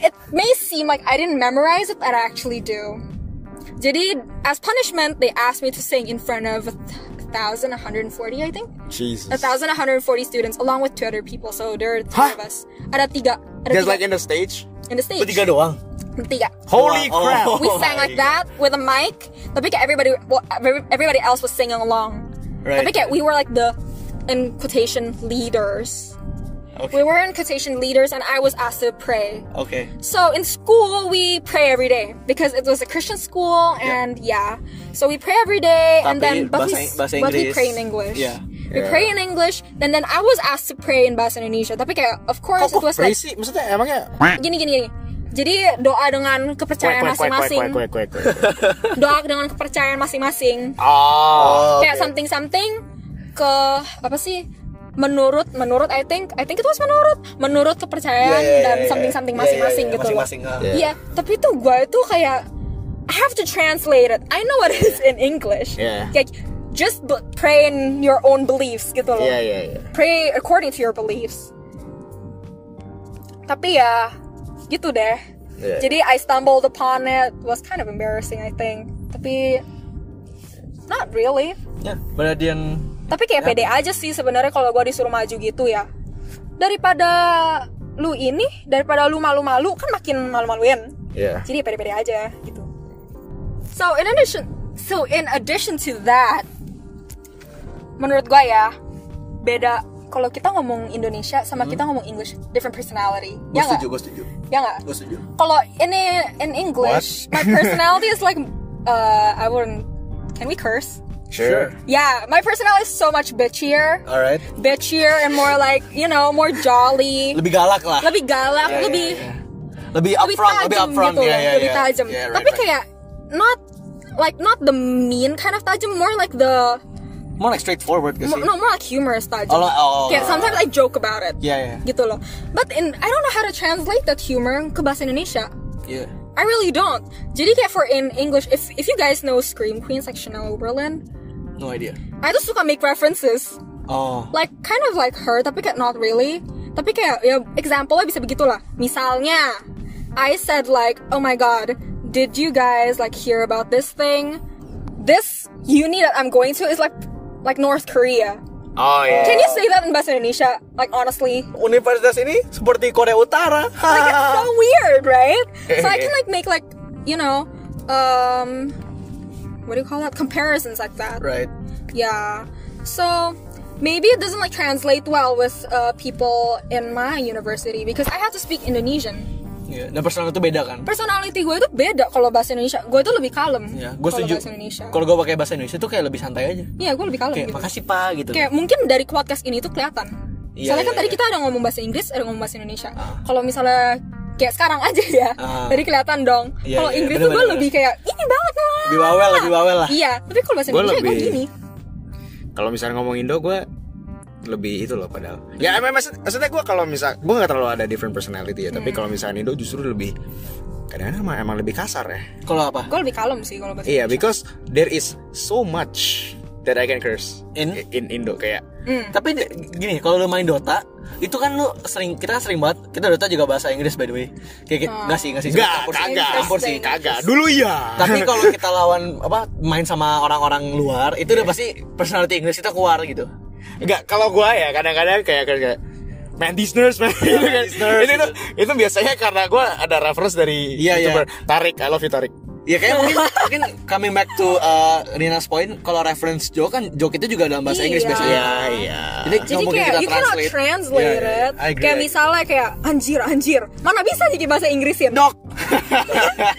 it may seem like I didn't memorize it, but I actually do. Jadi as punishment, they asked me to sing in front of a th- 1,140, I think. Jesus. 1,140 students along with two other people. So there are three Hah? of us. Ada tiga. Ada Just tiga like in the stage. in the stage. Bertiga doang. Bertiga. Holy Oh, crap! oh. We sang like that with a mic. Tapi kayak everybody, well, every- everybody else was singing along. Right. Tapi kayak we were like the, in quotation, leaders. Oke. We were in quotation leaders and I was asked to pray. Oke. So in school, we pray every day because it was a Christian school and yeah. So we pray every day and Tapi then, but, we, bahasa- bahasa but Inggris. we pray in English. Yeah. We pray in English and then I was asked to pray in Bahasa Indonesia. Tapi kayak, of course, it was like, Crazy. Maksudnya emangnya? gini, gini, gini. Jadi doa dengan kepercayaan masing-masing. wait, wait, wait, wait. Doa Ah, dengan kepercayaan masing-masing. Oh. Kayak something-something ke, apa sih? menurut menurut I think I think itu was menurut menurut Yeah, kepercayaan yeah, dan yeah, something something yeah. Yeah, yeah, masing-masing yeah, gitu loh. ya, masing-masing, ah. Yeah. Iya, tapi tuh gue itu kayak I have to translate it. I know what it is in English. Yeah. Kayak just be- pray in your own beliefs gitu loh. Yeah, yeah, yeah. Pray according to your beliefs. Tapi ya gitu deh. Yeah. Jadi I stumbled upon it was kind of embarrassing I think. Tapi not really. Ya, but at the end, Tapi kayak pede aja sih sebenarnya kalau gue disuruh maju gitu ya. Daripada lu ini, daripada lu malu-malu kan makin malu-maluin. Yeah. Jadi pede-pede aja gitu. So in addition, so in addition to that, menurut gue ya beda kalau kita ngomong Indonesia sama kita ngomong English different personality. gue ya nggak? Hmm. setuju, gue setuju, Ya nggak? gue setuju. Kalau in in English, my personality is like uh, I wouldn't. Can we curse? Sure. Yeah, my personality is so much bitchier, Alright, bitchier and more like you know more jolly, lebih galak lah, lebih galak, Yeah, lebih yeah, yeah. lebih lebih upfront, tajam lebih upfront, gitu ya, loh, ya, lebih ya. tajam. Yeah, right, Tapi right. kayak not like not the mean kind of tajam, more like the more like straightforward gak sih? mo- no more like humorous tajam. Oh, oh, Kayak oh, sometimes I joke about it. Yeah, yeah. Gitu loh. But in I don't know how to translate that humor ke bahasa Indonesia. Yeah. I really don't. Jadi kayak for in English, if if you guys know Scream Queens like Chanel Oberlin, No idea. I tuh suka make references Oh. like kind of like her tapi kayak not really tapi kayak ya example-nya bisa begitulah misalnya I said like oh my god did you guys like hear about this thing this uni that I'm going to is like like North Korea Oh yeah. can you say that in bahasa Indonesia like honestly Universitas ini seperti Korea Utara. like it's Uh-huh. so weird right so I can like make like you know um what do you call that comparisons like that right. Yeah. So maybe it doesn't like translate well with uh, people in my university because I have to speak Indonesian. Yeah. Dan personal itu beda kan? Personality gue itu beda kalau bahasa Indonesia. Gue itu lebih kalem. Ya, gue kalau setuju. bahasa Indonesia. Kalau gue pakai bahasa Indonesia tuh kayak lebih santai aja. Iya, gue lebih kalem Kayak gitu. makasih pak gitu. Kayak mungkin dari podcast ini tuh kelihatan. Iya, Soalnya kan iya, tadi iya. kita ada ngomong bahasa Inggris, ada ngomong bahasa Indonesia. Kalau misalnya kayak sekarang aja ya, Ah. tadi kelihatan dong. Iya, kalau iya, Inggris tuh gue bener-bener. lebih kayak ini banget lah. Lebih bawel, lebih bawel lah. Iya, tapi kalau bahasa Gue Indonesia gue lebih- gini. Kalau misalnya ngomong Indo, gue lebih itu loh padahal. Ya emang maksud, maksudnya gue kalau misal gue nggak terlalu ada different personality ya. Tapi kalau misalnya Indo justru lebih kadang-kadang emang, emang lebih kasar ya. Kalau apa? Gue lebih kalem sih kalau bahasa Iya, Indonesia. because there is so much that I can curse In? in Indo kayak. Hmm. Tapi di- gini, kalau lu main Dota, itu kan lu sering kita kan sering banget. Kita Dota juga bahasa Inggris by the way. Kayak Oh. kayak- nggak sih, nggak sih. Enggak, Campur sih, kagak. campur sih. Kagak. Dulu ya. Tapi kalau kita lawan apa main sama orang-orang luar, itu udah Iya. pasti personality Inggris kita keluar gitu. Enggak, kalau gua ya kadang-kadang kayak kayak Man these nerds, man. Itu kan- itu, itu, itu biasanya karena gua ada reference dari Iya, iya. YouTuber. Tarik, I love you Tarik. Ya kayak mungkin, mungkin coming back to uh, Rina's point, kalau reference joke kan joke itu juga dalam bahasa Inggris Iya. biasanya. Iya, iya. Jadi, Jadi nggak mungkin kayak kita you cannot translate. translate Iya, iya, it. I agree, kayak I agree. misalnya kayak anjir anjir. Mana bisa jadi bahasa Inggrisin? Dok.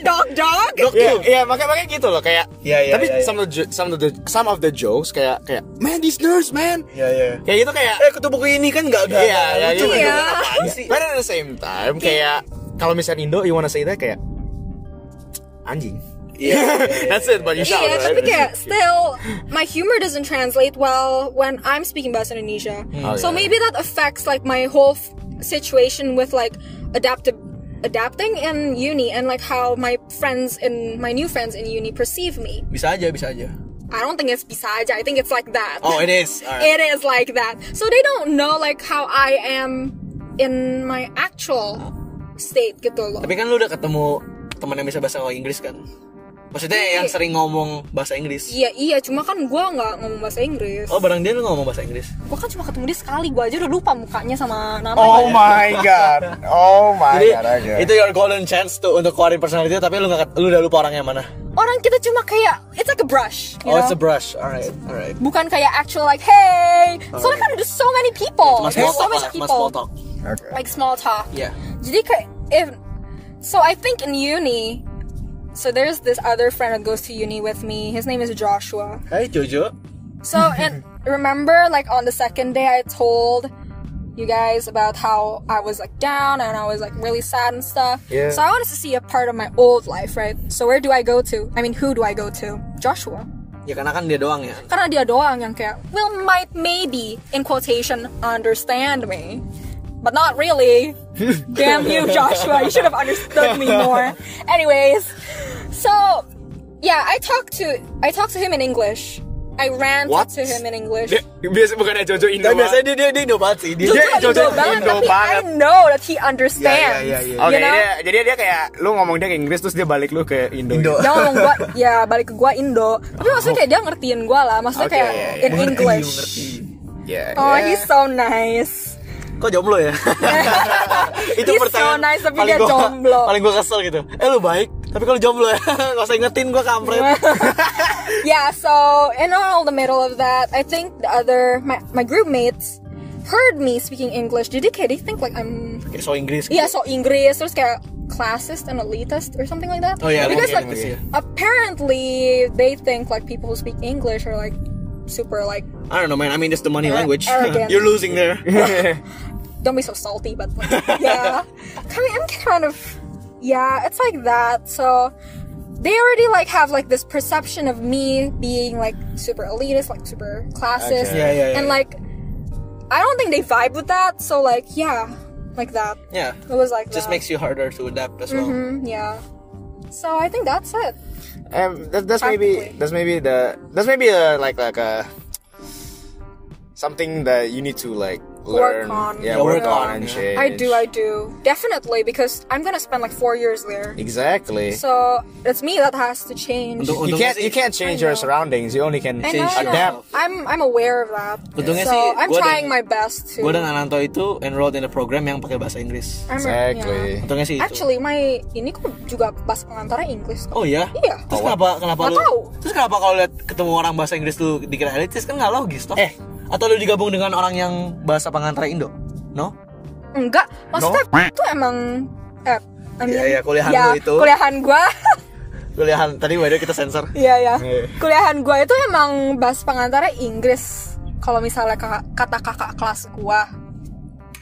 dog dog. Dok. Iya, iya makanya makanya gitu loh kayak. Iya, iya, tapi iya, iya. some of the some of the some of the jokes kayak kayak man these nerds, man. Iya, iya. Kayak gitu kayak Eh, kutu buku ini kan enggak ada. Iya, iya, lucu gitu. ya. Iya. Apaan sih? But at the same time kayak kalau misalnya Indo you wanna say that kayak anjing. Iya. That's it, but you shout. Iya, right? tapi kayak still my humor doesn't translate well when I'm speaking bahasa Indonesia. Hmm. Oh, so yeah. maybe that affects like my whole f- situation with like adaptive adapting in uni and like how my friends in my new friends in uni perceive me. Bisa aja, bisa aja. I don't think it's bisa aja. I think it's like that. Oh, it is. Alright. it is like that. So they don't know like how I am in my actual state gitu loh. Tapi kan lu udah ketemu teman yang bisa bahasa Inggris kan? Maksudnya yang sering ngomong bahasa Inggris. Iya iya, cuma kan gue nggak ngomong bahasa Inggris. Oh, barang dia lu ngomong bahasa Inggris. Gue kan cuma ketemu dia sekali, gue aja udah lupa mukanya sama namanya. Oh my god. Oh my Jadi god. okay. itu your golden chance tuh untuk keluarin personality tapi lu nggak lu udah lupa orangnya mana. Orang kita cuma kayak it's like a brush, you Oh, know? it's a brush. Alright, alright. Bukan kayak actual like hey. Soalnya kan ada so many people, Mas Oh. small there's so talk, many lah, mas people, small talk. Okay. like small talk. Yeah. Jadi kayak if so I think in uni. So there's this other friend that goes to uni with me. His name is Joshua. Hai Jojo. So and remember like on the second day I told you guys about how I was like down and I was like really sad and stuff. Yeah. So I wanted to see a part of my old life, right? So where do I go to? I mean, who do I go to? Joshua. ya karena kan dia doang ya Karena dia doang yang kayak will might maybe in quotation understand me. But not really. Damn you, Joshua. You should have understood me more. Anyways, so yeah, I talked to I talked to him in English. I ranted What? to him in English. Dia, biasa bukannya Jojo Indo. tapi biasanya dia dia dia Indo banget sih dia Jujur, dia- Indo Jojo banget, Indo tapi banget. I know that he understands. Ya, ya, ya, ya. Oke, You know? dia- jadi dia kayak lu ngomong dia ke Inggris terus dia balik lu ke Indo. Indo. gitu. Dia ngomong gua, ya balik ke gua Indo. Tapi Oh. maksudnya kayak dia ngertiin gua lah. Maksudnya Oke, kayak ya, ya. in Mengerti, English. mengerti. Ya. Oh, ya. he's so nice. kok jomblo ya itu He's pertanyaan so nice, tapi paling dia gua- jomblo. paling gue kesel gitu eh lu baik tapi kalau jomblo ya gak usah ingetin gue kampret yeah, so in all the middle of that, I think the other my my group mates heard me speaking English. Did they, they think like I'm Kayak so Inggris yeah, so Inggris, there's kayak classist and elitist or something like that. Oh, yeah, because okay, like okay. apparently they think like people who speak English are like super like I don't know man I mean it's the money language Arrogant. you're losing there don't be so salty, but like, yeah, I mean, I'm kind of yeah, it's like that. So they already like have like this perception of me being like super elitist, like super Okay. Yeah, classist, yeah, yeah, and yeah. like I don't think they vibe with that. So like yeah, like that. yeah It was like just that. makes you harder to adapt as well Mhm, yeah. So I think that's it. Um, that, that's maybe Practically. that's maybe the that's maybe a like like a something that you need to like learn. on. Yeah, Yeah, work work on on, and yeah. change. I do, I do definitely because I'm gonna spend like four years there. Exactly. So it's me that has to change. Untuk- you can't Untungnya sih- you can't change I your know. surroundings. You only can I change know. adapt. I'm I'm aware of that. Untungnya so sih I'm gua dan- trying my best to. gue dan Ananto itu enrolled in a program yang pakai bahasa Inggris I'm- Exactly. yeah. untungnya sih itu Actually, my ini kok juga bahasa pengantarnya Inggris kok. Oh iya? Iya. Terus kenapa kenapa Nggak lu? tahu. Terus kenapa kalau lihat ketemu orang bahasa Inggris lu dikira elitis kan nggak logis toh? Eh. Atau lu digabung dengan orang yang bahasa pengantar Indo? No? Enggak, maksudnya itu emang eh I mean, Iya, iya, kuliahan ya, lu itu. Kuliahan gua. Kuliahan tadi by the way kita sensor. Iya, ya. Iya. Kuliahan gua itu emang bahasa pengantarnya Inggris. Kalau misalnya kakak- kata kakak kelas gua,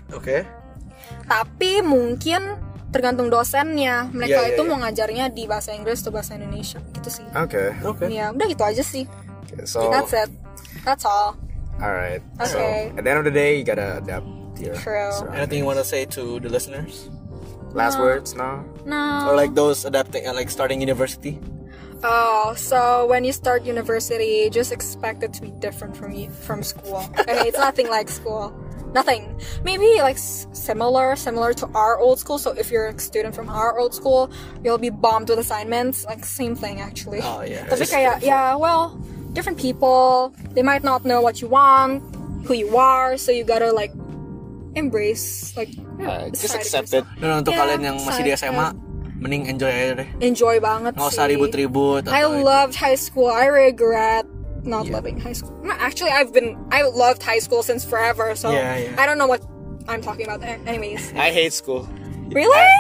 Oke. tapi mungkin tergantung dosennya. Mereka Iya, iya, itu iya. mau ngajarnya di bahasa Inggris atau bahasa Indonesia gitu sih. Okay. Oke. Ya, udah gitu aja sih. Okay, So That's it. That's all. all right. So Okay. at the end of the day, you gotta adapt. to Your True. surroundings. Anything you wanna say to the listeners? Last words now. Or No. like those adapting uh, like starting university? Oh, so when you start university, just expect it to be different from you from school. Okay, it's nothing like school. Nothing. Maybe like s- similar, similar to our old school. So if you're a student from our old school, you'll be bombed with assignments. Like same thing actually. Oh, iya. yeah. Tapi It's kayak, yeah, well, different people. They might not know what you want, who you are. So you gotta like embrace, like Yeah, just Sorry, accept it. guys. Dan untuk Yeah, kalian yang masih di excited. SMA, mending enjoy aja deh. enjoy banget. Nggak usah ya. sih. ribut-ribut. I atau- loved high school. I regret not Yeah. loving high school. No, Actually, I've been I loved high school since forever. So Yeah, yeah. I don't know what I'm talking about. there. Anyways, I hate school. really?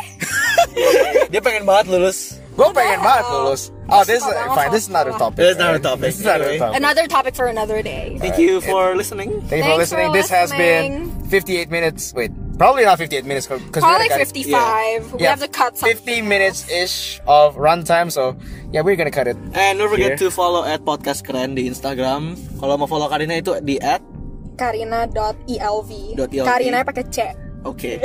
Dia pengen banget lulus. Gue pengen banget lulus. Oh, this is Suka fine. This is not a banget. topic. This is not a topic. This is not a Anyway. topic. Another topic for another day. Thank you for listening. Thank you for Thanks for listening. this has been listening. 58 minutes. Wait, probably not 58 minutes because Probably 55. We have to cut some. 50 minutes ish of runtime. So yeah, we're gonna cut it. And don't forget Here. to follow at podcast keren di Instagram. Kalau mau follow Karina itu di at Karina.elv. Dot E ELV. E Karina pakai C. Ah. Oke.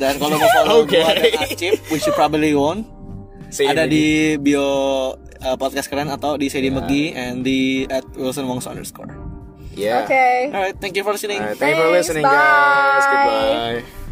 Dan kalau mau follow Oke. Iya, gua dan Acip, which you probably won't, See you ada maybe. di bio uh, podcast keren atau di Sedi Megi and di at Wilson Wongso underscore. yeah. Okay. Alright, thank you for listening. All right, thank you for Thanks, listening, bye. guys. Goodbye.